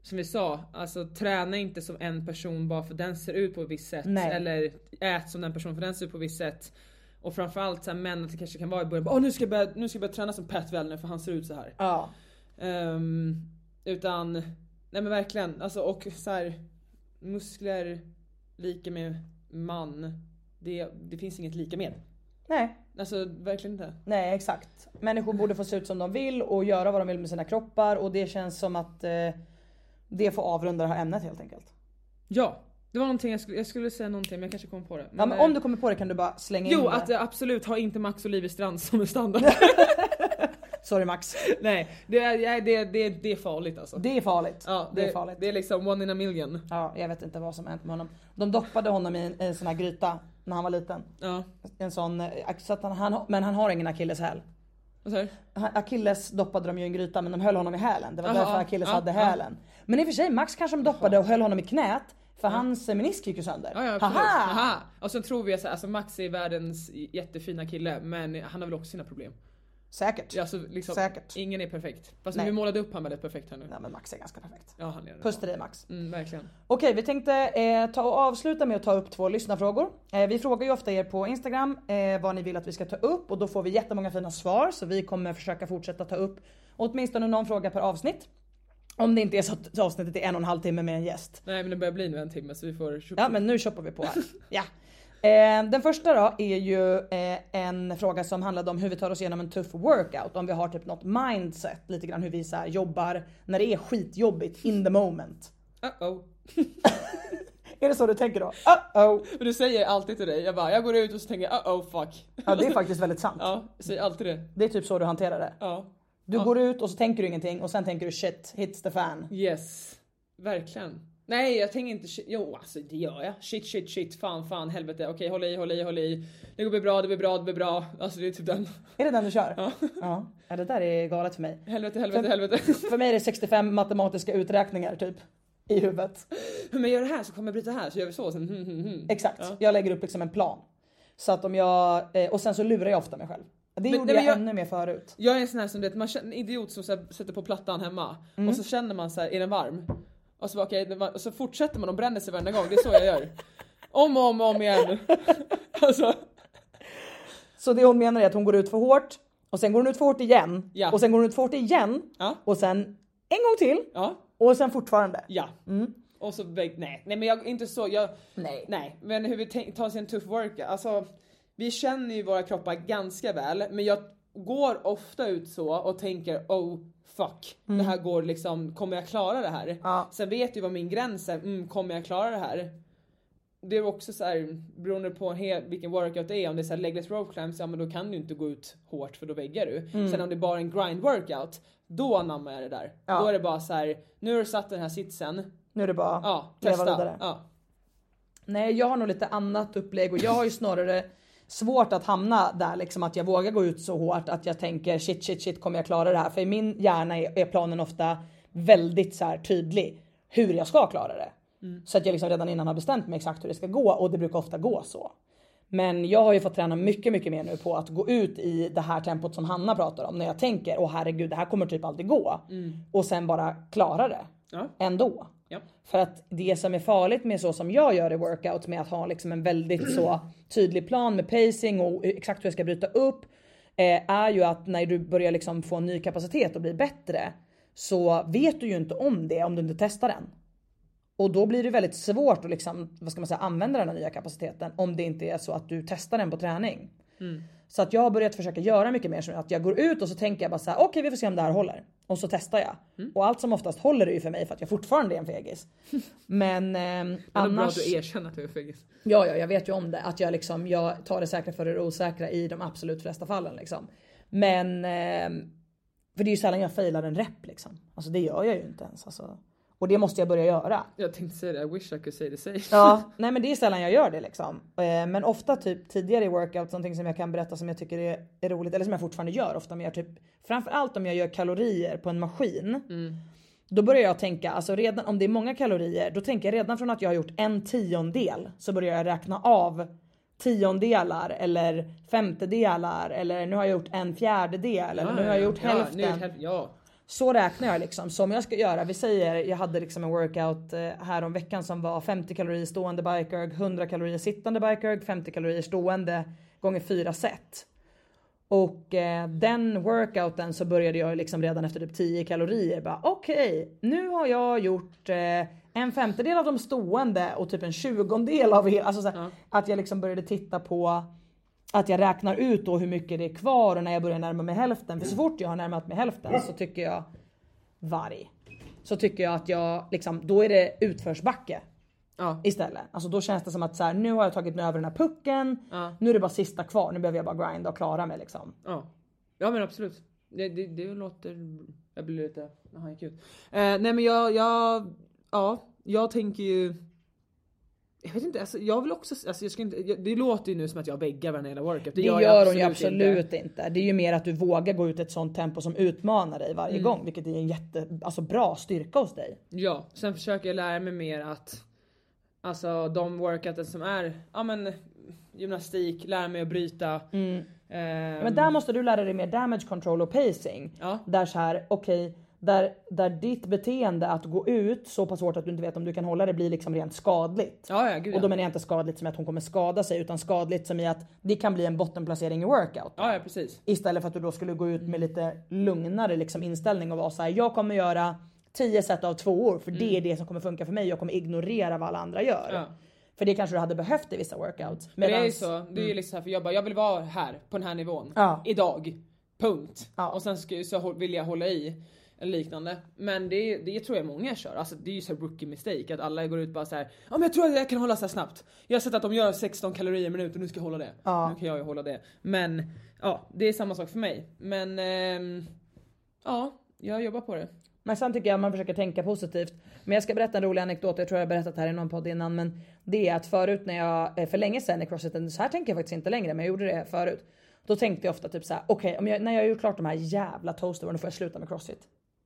Speaker 3: som vi sa, alltså träna inte som en person bara för den ser ut på ett visst sätt.
Speaker 2: Nej.
Speaker 3: Eller ät som den personen för den ser ut på ett visst sätt. Och framförallt så här, män att det kanske kan vara i början, bara, åh nu ska jag börja, nu ska jag börja träna som Pat Wellner för han ser ut så här.
Speaker 2: Ja.
Speaker 3: Ehm, utan, nej men verkligen. Alltså, och så här, muskler lika med man. Det, det finns inget lika med.
Speaker 2: Nej,
Speaker 3: Alltså verkligen inte.
Speaker 2: Nej exakt. Människor borde få se ut som de vill och göra vad de vill med sina kroppar och det känns som att eh, det får avrunda det här ämnet helt enkelt.
Speaker 3: Ja, det var någonting jag skulle, jag skulle säga någonting men jag kanske kom på det.
Speaker 2: Ja, men
Speaker 3: eh,
Speaker 2: om du kommer på det kan du bara slänga in
Speaker 3: Jo
Speaker 2: det.
Speaker 3: att eh, absolut ha inte Max Olivestrand som
Speaker 2: (laughs)
Speaker 3: en standard.
Speaker 2: Sorry
Speaker 3: (laughs)
Speaker 2: Max.
Speaker 3: nej det är, nej, det, det, det är farligt alltså.
Speaker 2: Det är farligt.
Speaker 3: ja,
Speaker 2: det, är farligt.
Speaker 3: Det är liksom one in a million.
Speaker 2: Ja, jag vet inte vad som hänt med honom. De doppade honom i en, en sån här gryta när han var liten.
Speaker 3: Ja.
Speaker 2: En sån, eh, så att han, han, men han har ingen akilleshäl.
Speaker 3: Vad sa du?
Speaker 2: Han- Akilles doppade de ju i en gryta men de höll honom i hälen. Det var
Speaker 3: Aha,
Speaker 2: därför Akilles
Speaker 3: ja,
Speaker 2: hade
Speaker 3: ja.
Speaker 2: hälen. Men i och för sig Max kanske de doppade och höll honom i knät. För hans menisk gick ju sönder.
Speaker 3: Ja, ja, absolut.
Speaker 2: Haha!
Speaker 3: Haha. Och sen tror vi att alltså Max är världens jättefina kille men han har väl också sina problem.
Speaker 2: Säkert.
Speaker 3: Ja, alltså, liksom,
Speaker 2: Säkert.
Speaker 3: Ingen är perfekt. Fast
Speaker 2: Nej.
Speaker 3: vi målade upp han väldigt perfekt här nu.
Speaker 2: Nej men Max är ganska perfekt.
Speaker 3: Ja, han är det.
Speaker 2: Puss till dig Max.
Speaker 3: Mm, verkligen.
Speaker 2: Okej, vi tänkte eh, ta och avsluta med att ta upp två lyssnarfrågor. Eh, vi frågar ju ofta er på Instagram eh, vad ni vill att vi ska ta upp och då får vi jättemånga fina svar så vi kommer försöka fortsätta ta upp åtminstone någon fråga per avsnitt. Om det inte är så att avsnittet är en och en halv timme med en gäst.
Speaker 3: Nej men det börjar bli nu en timme så vi får...
Speaker 2: Ja men nu shoppar vi på här. Ja. Eh, den första då är ju eh, en fråga som handlade om hur vi tar oss igenom en tuff workout. Om vi har typ något mindset, lite grann hur vi så här jobbar när det är skitjobbigt in the moment. (laughs)
Speaker 3: Uh-oh. (laughs)
Speaker 2: Är det så du tänker då? Uh oh!
Speaker 3: Men du säger alltid till dig, jag bara jag går ut och så tänker jag uh-oh fuck.
Speaker 2: Ja det är faktiskt väldigt sant.
Speaker 3: Ja, säg alltid det.
Speaker 2: Det är typ så du hanterar det.
Speaker 3: Ja.
Speaker 2: Du går ut och så tänker du ingenting och sen tänker du shit, hits the fan.
Speaker 3: Yes. Verkligen. Nej jag tänker inte shit. Jo alltså det gör jag. Shit shit shit fan fan helvete. Okej håll i håll i håll i. Det går bli bra det blir bra det blir bra. Alltså det är typ den. (laughs)
Speaker 2: Är det den du kör? Ja. (laughs) ja. det där är galet för mig.
Speaker 3: Helvete helvete helvete. (laughs)
Speaker 2: För mig är det 65 matematiska uträkningar typ. I huvudet.
Speaker 3: Men jag gör det här så kommer jag bryta här så gör vi så sen. Hmm, hmm, hmm.
Speaker 2: Exakt. Jag lägger upp liksom en plan. Så att om jag, eh, och sen så lurar jag ofta mig själv. Det gjorde
Speaker 3: nej, men
Speaker 2: jag,
Speaker 3: jag-
Speaker 2: ännu mer förut.
Speaker 3: Jag är en sån här som du vet, man känner, en idiot som så här, sätter på plattan hemma och så känner man så här, är den varm? Och så, bara, okej, den var, och så fortsätter man och bränner sig varenda gång, det är så jag gör. Om och om och om igen. Alltså,
Speaker 2: Så det hon menar är att hon går ut för hårt och sen går hon ut för hårt igen
Speaker 3: Ja.
Speaker 2: och sen går hon ut för hårt igen
Speaker 3: Ja.
Speaker 2: och sen en gång till
Speaker 3: ja.
Speaker 2: och sen fortfarande.
Speaker 3: Ja. Och så väg, nej. nej men jag inte så, jag,
Speaker 2: Nej.
Speaker 3: nej. Men hur vi tänk, tar sig en tuff workout, alltså vi känner ju våra kroppar ganska väl men jag går ofta ut så och tänker oh fuck det här går liksom, kommer jag klara det här?
Speaker 2: Mm. Ja.
Speaker 3: Sen vet jag vad min gräns är, mm, kommer jag klara det här? Det är också så här, beroende på en hel, vilken workout det är, om det är så här legless rope climbs, ja men då kan du inte gå ut hårt för då väggar du.
Speaker 2: Mm.
Speaker 3: Sen om det är bara en grind workout, då anammar jag det där. Då är det bara så här, nu har du satt den här sitsen,
Speaker 2: Nu är det bara
Speaker 3: Ja,
Speaker 2: leva
Speaker 3: testa.
Speaker 2: vidare.
Speaker 3: Ja.
Speaker 2: Nej jag har nog lite annat upplägg och jag har ju snarare svårt att hamna där liksom att jag vågar gå ut så hårt att jag tänker shit shit shit kommer jag klara det här? För i min hjärna är, är planen ofta väldigt så här tydlig hur jag ska klara det. Så att jag liksom redan innan har bestämt mig exakt hur det ska gå och det brukar ofta gå så. Men jag har ju fått träna mycket, mycket mer nu på att gå ut i det här tempot som Hanna pratar om när jag tänker åh herregud det här kommer typ aldrig gå. Och sen bara klara det
Speaker 3: Mm. Ja.
Speaker 2: ändå.
Speaker 3: Ja.
Speaker 2: För att det som är farligt med så som jag gör i workout med att ha liksom en väldigt så tydlig plan med pacing och exakt hur jag ska bryta upp eh, är ju att när du börjar liksom få en ny kapacitet och bli bättre så vet du ju inte om det om du inte testar den. Och då blir det väldigt svårt att liksom, vad ska man säga, använda den här nya kapaciteten om det inte är så att du testar den på träning.
Speaker 3: Mm.
Speaker 2: Så att jag har börjat försöka göra mycket mer så att jag går ut och så tänker jag bara så här: okej vi får se om det här håller. Och så testar jag.
Speaker 3: Mm.
Speaker 2: Och allt som oftast håller det ju för mig för att jag fortfarande är en
Speaker 3: (laughs)
Speaker 2: fegis. Men ehm,
Speaker 3: Annars... Bra
Speaker 2: annars,
Speaker 3: att du erkänner att du är fegis.
Speaker 2: ja, ja jag vet ju om det. Att jag liksom, jag tar det säkra för det osäkra i de absolut flesta fallen liksom. Men, ehm, för det är ju sällan jag failar en rep liksom. Alltså det gör jag ju inte ens. Alltså. Och det måste jag börja göra.
Speaker 3: Jag tänkte säga det, I wish I could say the same. (laughs)
Speaker 2: Ja, nej men det är sällan jag gör det liksom. Eh, Men ofta typ tidigare i workout, någonting som jag kan berätta som jag tycker är, är roligt, eller som jag fortfarande gör ofta, men jag typ, framförallt om jag gör kalorier på en maskin.
Speaker 3: Mm.
Speaker 2: Då börjar jag tänka, alltså redan om det är många kalorier, då tänker jag redan från att jag har gjort en tiondel så börjar jag räkna av tiondelar eller femtedelar eller nu har jag gjort en fjärdedel eller nu har jag gjort
Speaker 3: ja,
Speaker 2: hälften.
Speaker 3: Nu har jag gjort hälften. Ja.
Speaker 2: Så räknar jag liksom. Så om jag ska göra, vi säger jag hade liksom en workout eh, här om veckan som var 50 kalorier stående bikerg, 100 kalorier sittande bikerg, 50 kalorier stående gånger fyra set. Och eh, den workouten så började jag liksom redan efter typ 10 kalorier bara okej, nu har jag gjort eh, en femtedel av de stående och typ en tjugondel av hela. Alltså så här, att jag liksom började titta på att jag räknar ut då hur mycket det är kvar och när jag börjar närma mig hälften. För så fort jag har närmat mig hälften så tycker jag varg. Så tycker jag att jag liksom, då är det utförsbacke
Speaker 3: Ja.
Speaker 2: istället. Alltså då känns det som att så här, nu har jag tagit mig över den här pucken. Nu är det bara sista kvar. Nu behöver jag bara grinda och klara mig liksom.
Speaker 3: Ja. ja men absolut. Det, det, det låter... Jag blir lite... Jaha, gick ut. Eh, nej men jag, jag... Ja, jag tänker ju... Jag vet inte, alltså, jag vill också... Alltså, jag ska inte, jag, det låter ju nu som att jag väggar varenda hela workout.
Speaker 2: Det gör,
Speaker 3: jag
Speaker 2: hon ju absolut inte. Det är ju mer att du vågar gå ut i ett sånt tempo som utmanar dig
Speaker 3: Mm.
Speaker 2: varje gång. Vilket är en jätte, alltså bra styrka hos dig.
Speaker 3: Ja, sen försöker jag lära mig mer att alltså de workouten som är ja men gymnastik, lära mig att bryta, Ehm,
Speaker 2: Mm. Men där måste du lära dig mer damage control och pacing.
Speaker 3: Ja.
Speaker 2: Där så här, okej, där, där ditt beteende att gå ut så pass hårt att du inte vet om du kan hålla det blir liksom rent skadligt.
Speaker 3: Ja, ja, gud
Speaker 2: och då
Speaker 3: ja.
Speaker 2: menar jag inte skadligt som att hon kommer skada sig utan skadligt som i att det kan bli en bottenplacering i workout.
Speaker 3: ja, ja precis.
Speaker 2: Istället för att du då skulle gå ut med lite lugnare liksom inställning och vara så här, jag kommer göra 10 set av två år för det är det som kommer funka för mig. Jag kommer ignorera vad alla andra gör.
Speaker 3: Ja.
Speaker 2: För det kanske du hade behövt i vissa workouts.
Speaker 3: Men det är ju
Speaker 2: Medans-
Speaker 3: så, det är ju liksom så här, för jag bara jag vill vara här på den här nivån
Speaker 2: Mm. Ja.
Speaker 3: idag. Punkt.
Speaker 2: Ja.
Speaker 3: Och sen ska, så hå- vill jag hålla i eller liknande. Men det, det tror jag många kör. Alltså det är ju så här rookie mistake att alla går ut bara så här. Ja men jag tror att jag kan hålla så här snabbt. Jag har sett att de gör 16 kalorier i minuten, nu ska jag hålla det.
Speaker 2: Ja.
Speaker 3: Nu kan jag ju hålla det. Men ja, det är samma sak för mig. Men ehm, ja, jag jobbar på det.
Speaker 2: Men sen tycker jag man försöker tänka positivt. Men jag ska berätta en rolig anekdot. Jag tror jag har berättat här i någon podd innan. Men det är att förut när jag, eh, för länge sedan i crossfiten, så här tänker jag faktiskt inte längre men jag gjorde det förut. Då tänkte jag ofta typ så här: okej om jag- när jag har gjort klart de här jävla toasterna då får jag sluta med crossfit.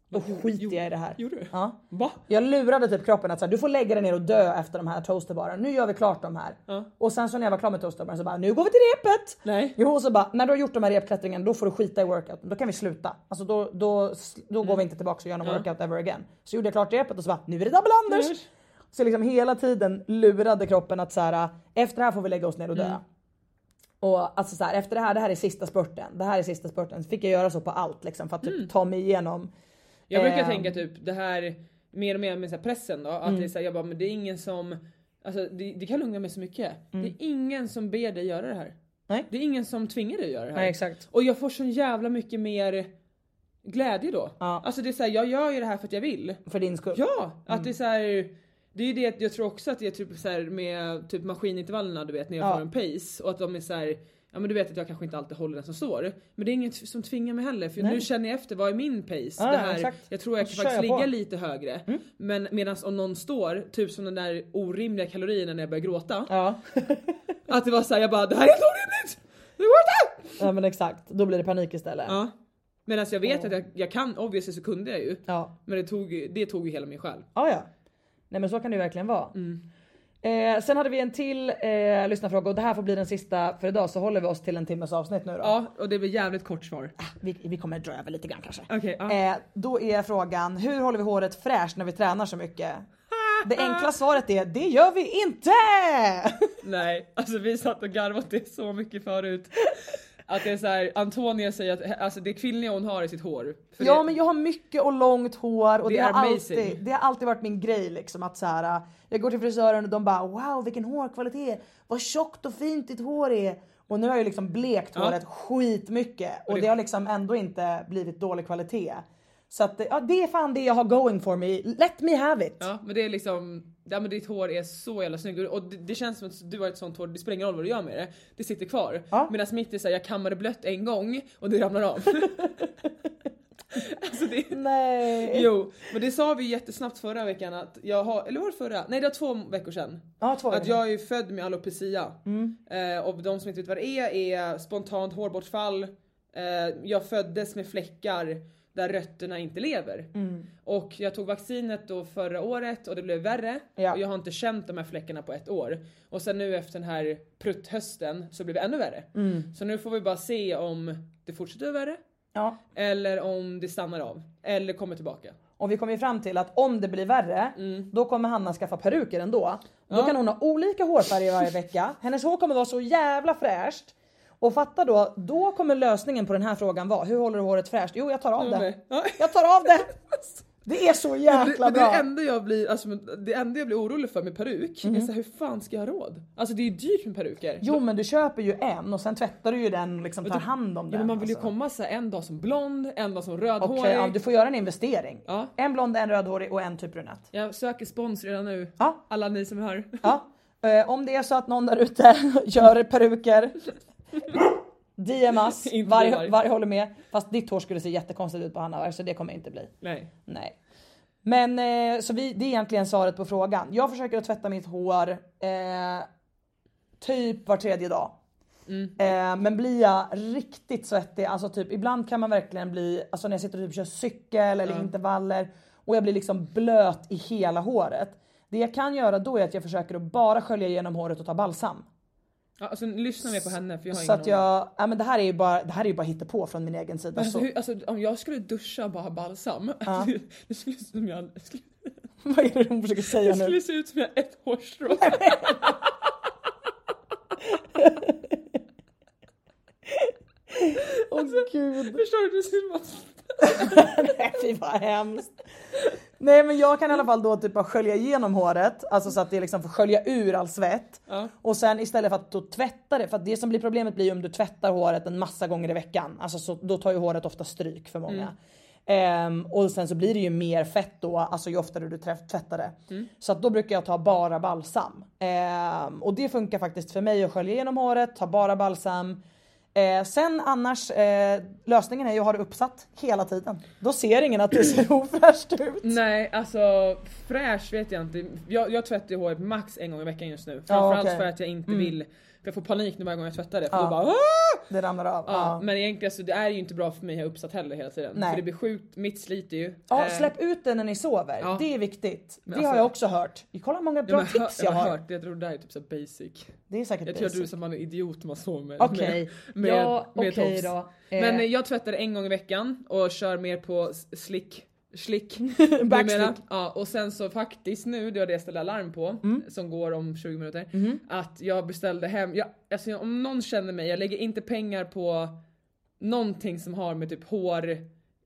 Speaker 2: Då skiter jag i det här.
Speaker 3: Gjorde du?
Speaker 2: Ja.
Speaker 3: Va?
Speaker 2: Jag lurade typ kroppen att så här, du får lägga dig ner och dö efter de här toasterbaren. Nu gör vi klart de här. Och sen så när jag var klar med toasterbaren så bara, nu går vi till repet!
Speaker 3: Nej.
Speaker 2: Jo, och så bara, när du har gjort de här repklättringen då får du skita i workouten. Då kan vi sluta. Alltså då, då, då går vi inte tillbaka och gör någon workout ever again. Så gjorde jag klart repet och så bara, nu är det double unders!
Speaker 3: Mm.
Speaker 2: Så liksom hela tiden lurade kroppen att så här, efter det här får vi lägga oss ner och dö. Och alltså så här, efter det här, det här är sista spurten. Det här är sista spurten. Så fick jag göra så på allt liksom för att typ, ta mig igenom.
Speaker 3: Jag brukar
Speaker 2: Ehm.
Speaker 3: tänka typ det här mer och mer med så här pressen då, att
Speaker 2: Mm.
Speaker 3: det är så här, jag bara men det är ingen som, alltså det, det kan lugna mig så mycket. Det är ingen som ber dig göra det här.
Speaker 2: Mm. Nej.
Speaker 3: Det är ingen som tvingar dig att göra det här.
Speaker 2: Nej, exakt.
Speaker 3: Och jag får så jävla mycket mer glädje då.
Speaker 2: Ja.
Speaker 3: Alltså det är såhär, jag gör ju det här för att jag vill.
Speaker 2: För din skull.
Speaker 3: Ja!
Speaker 2: Mm.
Speaker 3: Att det är såhär, det är ju det jag tror också att det är typ så här med typ maskinintervallerna du vet när jag
Speaker 2: Ja.
Speaker 3: får en pace och att de är såhär Ja men du vet att jag kanske inte alltid håller den som står. Men det är inget som tvingar mig heller för nu känner jag efter vad är min pace?
Speaker 2: Ja,
Speaker 3: det
Speaker 2: ja,
Speaker 3: här,
Speaker 2: exakt.
Speaker 3: jag tror jag
Speaker 2: Och
Speaker 3: kan
Speaker 2: så
Speaker 3: faktiskt
Speaker 2: kör jag på. Mm.
Speaker 3: ligga lite högre. Men medan om någon står, typ som den där orimliga kalorierna när jag börjar gråta.
Speaker 2: Ja.
Speaker 3: Att det var såhär jag bara det här är helt orimligt! Det går inte!
Speaker 2: ja men exakt, då blir det panik istället.
Speaker 3: Ja. Medan jag vet att jag, jag kan, obviously så kunde jag ju.
Speaker 2: Ja.
Speaker 3: Men det tog, ju- det tog ju hela min själ.
Speaker 2: Ja, ja. Nej men så kan det ju verkligen vara.
Speaker 3: Mm.
Speaker 2: Eh, sen hade vi en till eh, lyssnarfråga och det här får bli den sista för idag så håller vi oss till en timmes avsnitt nu då.
Speaker 3: Ja och det blir jävligt kort svar.
Speaker 2: Vi, vi kommer dra över lite grann kanske.
Speaker 3: Okej, ja.
Speaker 2: eh, då är frågan, hur håller vi håret fräscht när vi tränar så mycket? Det enkla svaret är, det gör vi inte!
Speaker 3: Nej, alltså vi satt och garvat det så mycket förut. Att det är så här, Antonia säger att alltså det kvinnliga hon har i sitt hår. För
Speaker 2: ja
Speaker 3: det,
Speaker 2: men jag har mycket och långt hår och det,
Speaker 3: Det är
Speaker 2: har, alltid,
Speaker 3: amazing.
Speaker 2: det har alltid varit min grej liksom att så här, jag går till frisören och de bara wow vilken hårkvalitet, vad tjockt och fint ditt hår är. Och nu har jag liksom blekt håret skitmycket och det har liksom ändå inte blivit dålig kvalitet. Så att, ja, det är fan det jag har going for me, let me have it.
Speaker 3: ja, men det är liksom, ja, men ditt hår är så jävla snyggt och det, det känns som att du har ett sånt hår, det spelar ingen roll vad du gör med det. Det sitter kvar.
Speaker 2: Ja.
Speaker 3: Medan mitt är såhär, jag kammar det blött en gång och det
Speaker 2: (laughs)
Speaker 3: ramlar av. alltså det
Speaker 2: Nej.
Speaker 3: Jo, men det sa vi jättesnabbt förra veckan att jag har, eller var det förra? Nej det var två veckor sedan.
Speaker 2: Ja, två
Speaker 3: Att
Speaker 2: veckor. Mm.
Speaker 3: jag är ju född med alopecia. Eh, och de som inte vet vad det är är spontant hårbortfall. Eh, jag föddes med fläckar där rötterna inte lever.
Speaker 2: Mm.
Speaker 3: Och jag tog vaccinet då förra året och det blev värre.
Speaker 2: Ja.
Speaker 3: Och jag har inte känt de här fläckarna på ett år. Och sen nu efter den här prutthösten så blev det ännu värre.
Speaker 2: Mm.
Speaker 3: Så nu får vi bara se om det fortsätter vara värre.
Speaker 2: Ja.
Speaker 3: Eller om det stannar av. Eller kommer tillbaka.
Speaker 2: Och vi kom ju fram till att om det blir värre,
Speaker 3: Mm.
Speaker 2: då kommer Hanna skaffa peruker ändå. Då kan hon ha olika hårfärger varje
Speaker 3: (laughs)
Speaker 2: vecka. Hennes hår kommer vara så jävla fräscht. Och fatta då, då kommer lösningen på den här frågan vara, hur håller du håret fräscht? Jo jag tar av det.
Speaker 3: Ja.
Speaker 2: Jag tar av det! Det är så
Speaker 3: Men
Speaker 2: jäkla
Speaker 3: det, men det, är det,
Speaker 2: bra. Mhm.
Speaker 3: enda jag blir, alltså, men det enda jag blir orolig för med peruk är så här, hur fan ska jag ha råd? Alltså det är ju dyrt med peruker.
Speaker 2: Jo men du köper ju en och sen tvättar du ju den och liksom tar hand om
Speaker 3: ja,
Speaker 2: den.
Speaker 3: men man vill ju
Speaker 2: alltså.
Speaker 3: komma så här, en dag som blond, en dag som
Speaker 2: Okej,
Speaker 3: rödhårig.
Speaker 2: ja, du får göra en investering.
Speaker 3: Ja.
Speaker 2: En blond, en rödhårig och en typ brunett.
Speaker 3: Jag söker spons redan nu.
Speaker 2: Ja.
Speaker 3: Alla ni som hör.
Speaker 2: Ja. Eh, om det är så att någon där ute (laughs) gör peruker, DMs,
Speaker 3: Inte
Speaker 2: varje,
Speaker 3: varg.
Speaker 2: varje håller med. Fast ditt hår skulle se jättekonstigt ut på Hanna så det kommer inte bli.
Speaker 3: Nej.
Speaker 2: Nej. Men eh, så vi, det är egentligen svaret på frågan. Jag försöker att tvätta mitt hår eh, typ var tredje dag.
Speaker 3: Mm.
Speaker 2: Eh, men blir jag riktigt svettig, alltså typ ibland kan man verkligen bli, alltså när jag sitter och typ kör cykel eller intervaller och jag blir liksom blöt i hela håret. Det jag kan göra då är att jag försöker att bara skölja igenom håret och ta balsam.
Speaker 3: Ja, alltså, lyssna mer på henne för jag har
Speaker 2: Så
Speaker 3: ingen
Speaker 2: att jag, ja men det här är ju bara, det här är ju bara hittepå från min egen sida.
Speaker 3: aning. Alltså,
Speaker 2: Så,
Speaker 3: hur, alltså, om jag skulle duscha och bara ha balsam, (laughs) det skulle se ut som jag, det skulle,
Speaker 2: vad är det hon försöker säga
Speaker 3: det (laughs)
Speaker 2: nu?
Speaker 3: skulle se ut som jag ett hårstrå.
Speaker 2: Åh gud.
Speaker 3: Alltså, Förstår du? Det ser ut som
Speaker 2: (laughs) Nej fy vad hemskt. Nej men jag kan i alla fall då typ bara skölja igenom håret, alltså så att det liksom får skölja ur all svett. Och sen istället för att då tvätta det, för att det som blir problemet blir ju om du tvättar håret en massa gånger i veckan. Alltså så, då tar ju håret ofta stryk för många. Ehm, och sen så blir det ju mer fett då, alltså ju oftare du träff- tvättar det. Så att då brukar jag ta bara balsam. Ehm, och det funkar faktiskt för mig att skölja igenom håret, ta bara balsam. Eh, sen annars, eh, lösningen är ju att ha det uppsatt hela tiden. Då ser ingen att det ser (laughs) ofräscht ut.
Speaker 3: Nej alltså fräsch vet jag inte. Jag, jag tvättar ju håret max en gång i veckan just nu. Framförallt
Speaker 2: okej. Mm.
Speaker 3: för att jag inte vill, för jag får panik när varje gång jag tvättar det. För
Speaker 2: Ja.
Speaker 3: då bara "Aah!"
Speaker 2: Det ramlar av.
Speaker 3: Ja,
Speaker 2: Ja.
Speaker 3: men egentligen så det är ju inte bra för mig att ha uppsatt heller hela tiden.
Speaker 2: Nej.
Speaker 3: För det blir sjukt, mitt sliter ju.
Speaker 2: Ja,
Speaker 3: Eh,
Speaker 2: släpp ut den när ni sover.
Speaker 3: Ja.
Speaker 2: Det är viktigt. Det
Speaker 3: alltså-
Speaker 2: har jag också hört. Kolla hur många
Speaker 3: nej,
Speaker 2: bra
Speaker 3: men hör-
Speaker 2: tips jag,
Speaker 3: jag
Speaker 2: har.
Speaker 3: hört det, jag tror det där är typ så här basic.
Speaker 2: Det är säkert
Speaker 3: Jag tror att du
Speaker 2: basic.
Speaker 3: som man är idiot när man sover med,
Speaker 2: Okej.
Speaker 3: med, med,
Speaker 2: Ja,
Speaker 3: med
Speaker 2: okej
Speaker 3: tofs.
Speaker 2: då. Eh.
Speaker 3: Men eh, jag tvättar en gång i veckan och kör mer på s- slick.
Speaker 2: (laughs)
Speaker 3: Slick.
Speaker 2: Backslick. Mm.
Speaker 3: numera. Ja, och sen så faktiskt nu, det var det jag ställde alarm på som går om 20 minuter.
Speaker 2: Mm-hmm.
Speaker 3: Att jag beställde hem, jag, alltså jag- om någon känner mig, jag lägger inte pengar på någonting som har med typ hår,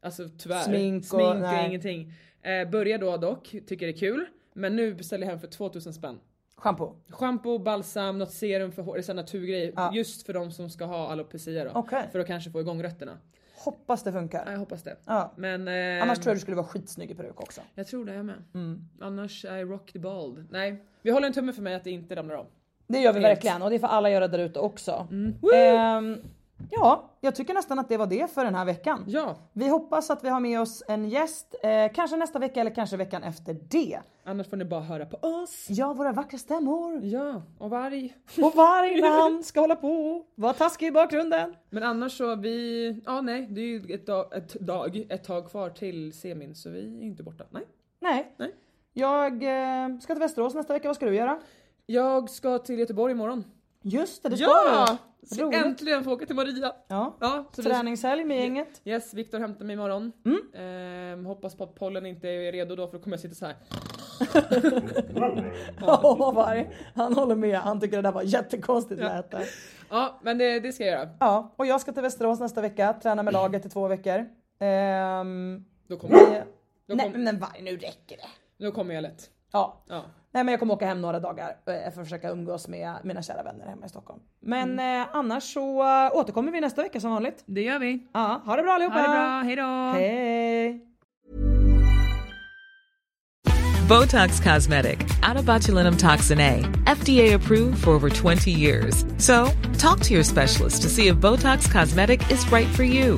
Speaker 3: alltså tyvärr.
Speaker 2: Smink och- nej.
Speaker 3: är ingenting. Eh, börjar då dock, tycker det är kul. Men nu beställer jag hem för 2000 spänn.
Speaker 2: Shampoo.
Speaker 3: Shampoo, balsam, något serum för hår, det är sån naturgrej. Just för de som ska ha alopecia då.
Speaker 2: Okej.
Speaker 3: För att kanske få igång rötterna.
Speaker 2: Hoppas det
Speaker 3: Ja,
Speaker 2: funkar.
Speaker 3: jag hoppas det.
Speaker 2: Ja.
Speaker 3: Men eh,
Speaker 2: Annars tror jag du Mm. skulle vara skitsnygg i peruk också.
Speaker 3: jag tror det jag med. Annars I rock the bald. Nej, vi håller en tumme för mig att det inte ramlar av.
Speaker 2: Det gör vi verkligen och det får alla göra där ute också.
Speaker 3: Mm.
Speaker 2: Ehm, ja, jag tycker nästan att det var det för den här veckan.
Speaker 3: Ja,
Speaker 2: Vi hoppas att vi har med oss en gäst, eh, kanske nästa vecka eller kanske veckan efter det.
Speaker 3: annars får ni bara höra på oss.
Speaker 2: Ja, våra vackra stämmor
Speaker 3: Ja, och varg.
Speaker 2: och
Speaker 3: (laughs)
Speaker 2: vargen ska hålla på. Var taskig i bakgrunden.
Speaker 3: Men annars så vi, ja nej det är ju ett, dag, ett dag, ett tag kvar till semin så vi är inte borta. Nej.
Speaker 2: Nej.
Speaker 3: Nej.
Speaker 2: Jag eh, ska till Västerås nästa vecka, vad ska du göra?
Speaker 3: Jag ska till Göteborg imorgon.
Speaker 2: Just det, det ska
Speaker 3: Ja!
Speaker 2: du.
Speaker 3: Så
Speaker 2: Roligt.
Speaker 3: äntligen får jag åka till Maria.
Speaker 2: Ja.
Speaker 3: Ja, så vi
Speaker 2: Träningshelg med gänget.
Speaker 3: Yes, Viktor hämtar mig imorgon. Ehm, hoppas på att pollen inte är redo då för då kommer jag sitta så här.
Speaker 2: Åh, varg. Han håller med, han tycker det där var jättekonstigt lät det.
Speaker 3: Ja, men det, det ska jag göra.
Speaker 2: Ja, och jag ska till Västerås nästa vecka, träna med laget i två veckor. Ehm,
Speaker 3: Då kommer jag, då
Speaker 2: nej
Speaker 3: kom,
Speaker 2: men varg, nu räcker det.
Speaker 3: då kommer jag lätt.
Speaker 2: Ja.
Speaker 3: Ja.
Speaker 2: Nej men jag kommer åka hem några dagar eh, för att försöka umgås med mina kära vänner hemma i Stockholm. Men eh, annars så eh, återkommer vi nästa vecka som vanligt.
Speaker 3: Det gör vi.
Speaker 2: Ja, Mm. ha det bra allihopa!
Speaker 3: hejdå!
Speaker 2: Hej!
Speaker 5: Botox Cosmetic, out of botulinum toxin A, FDA approved for over 20 years. So, talk to your specialist to see if Botox Cosmetic is right for you.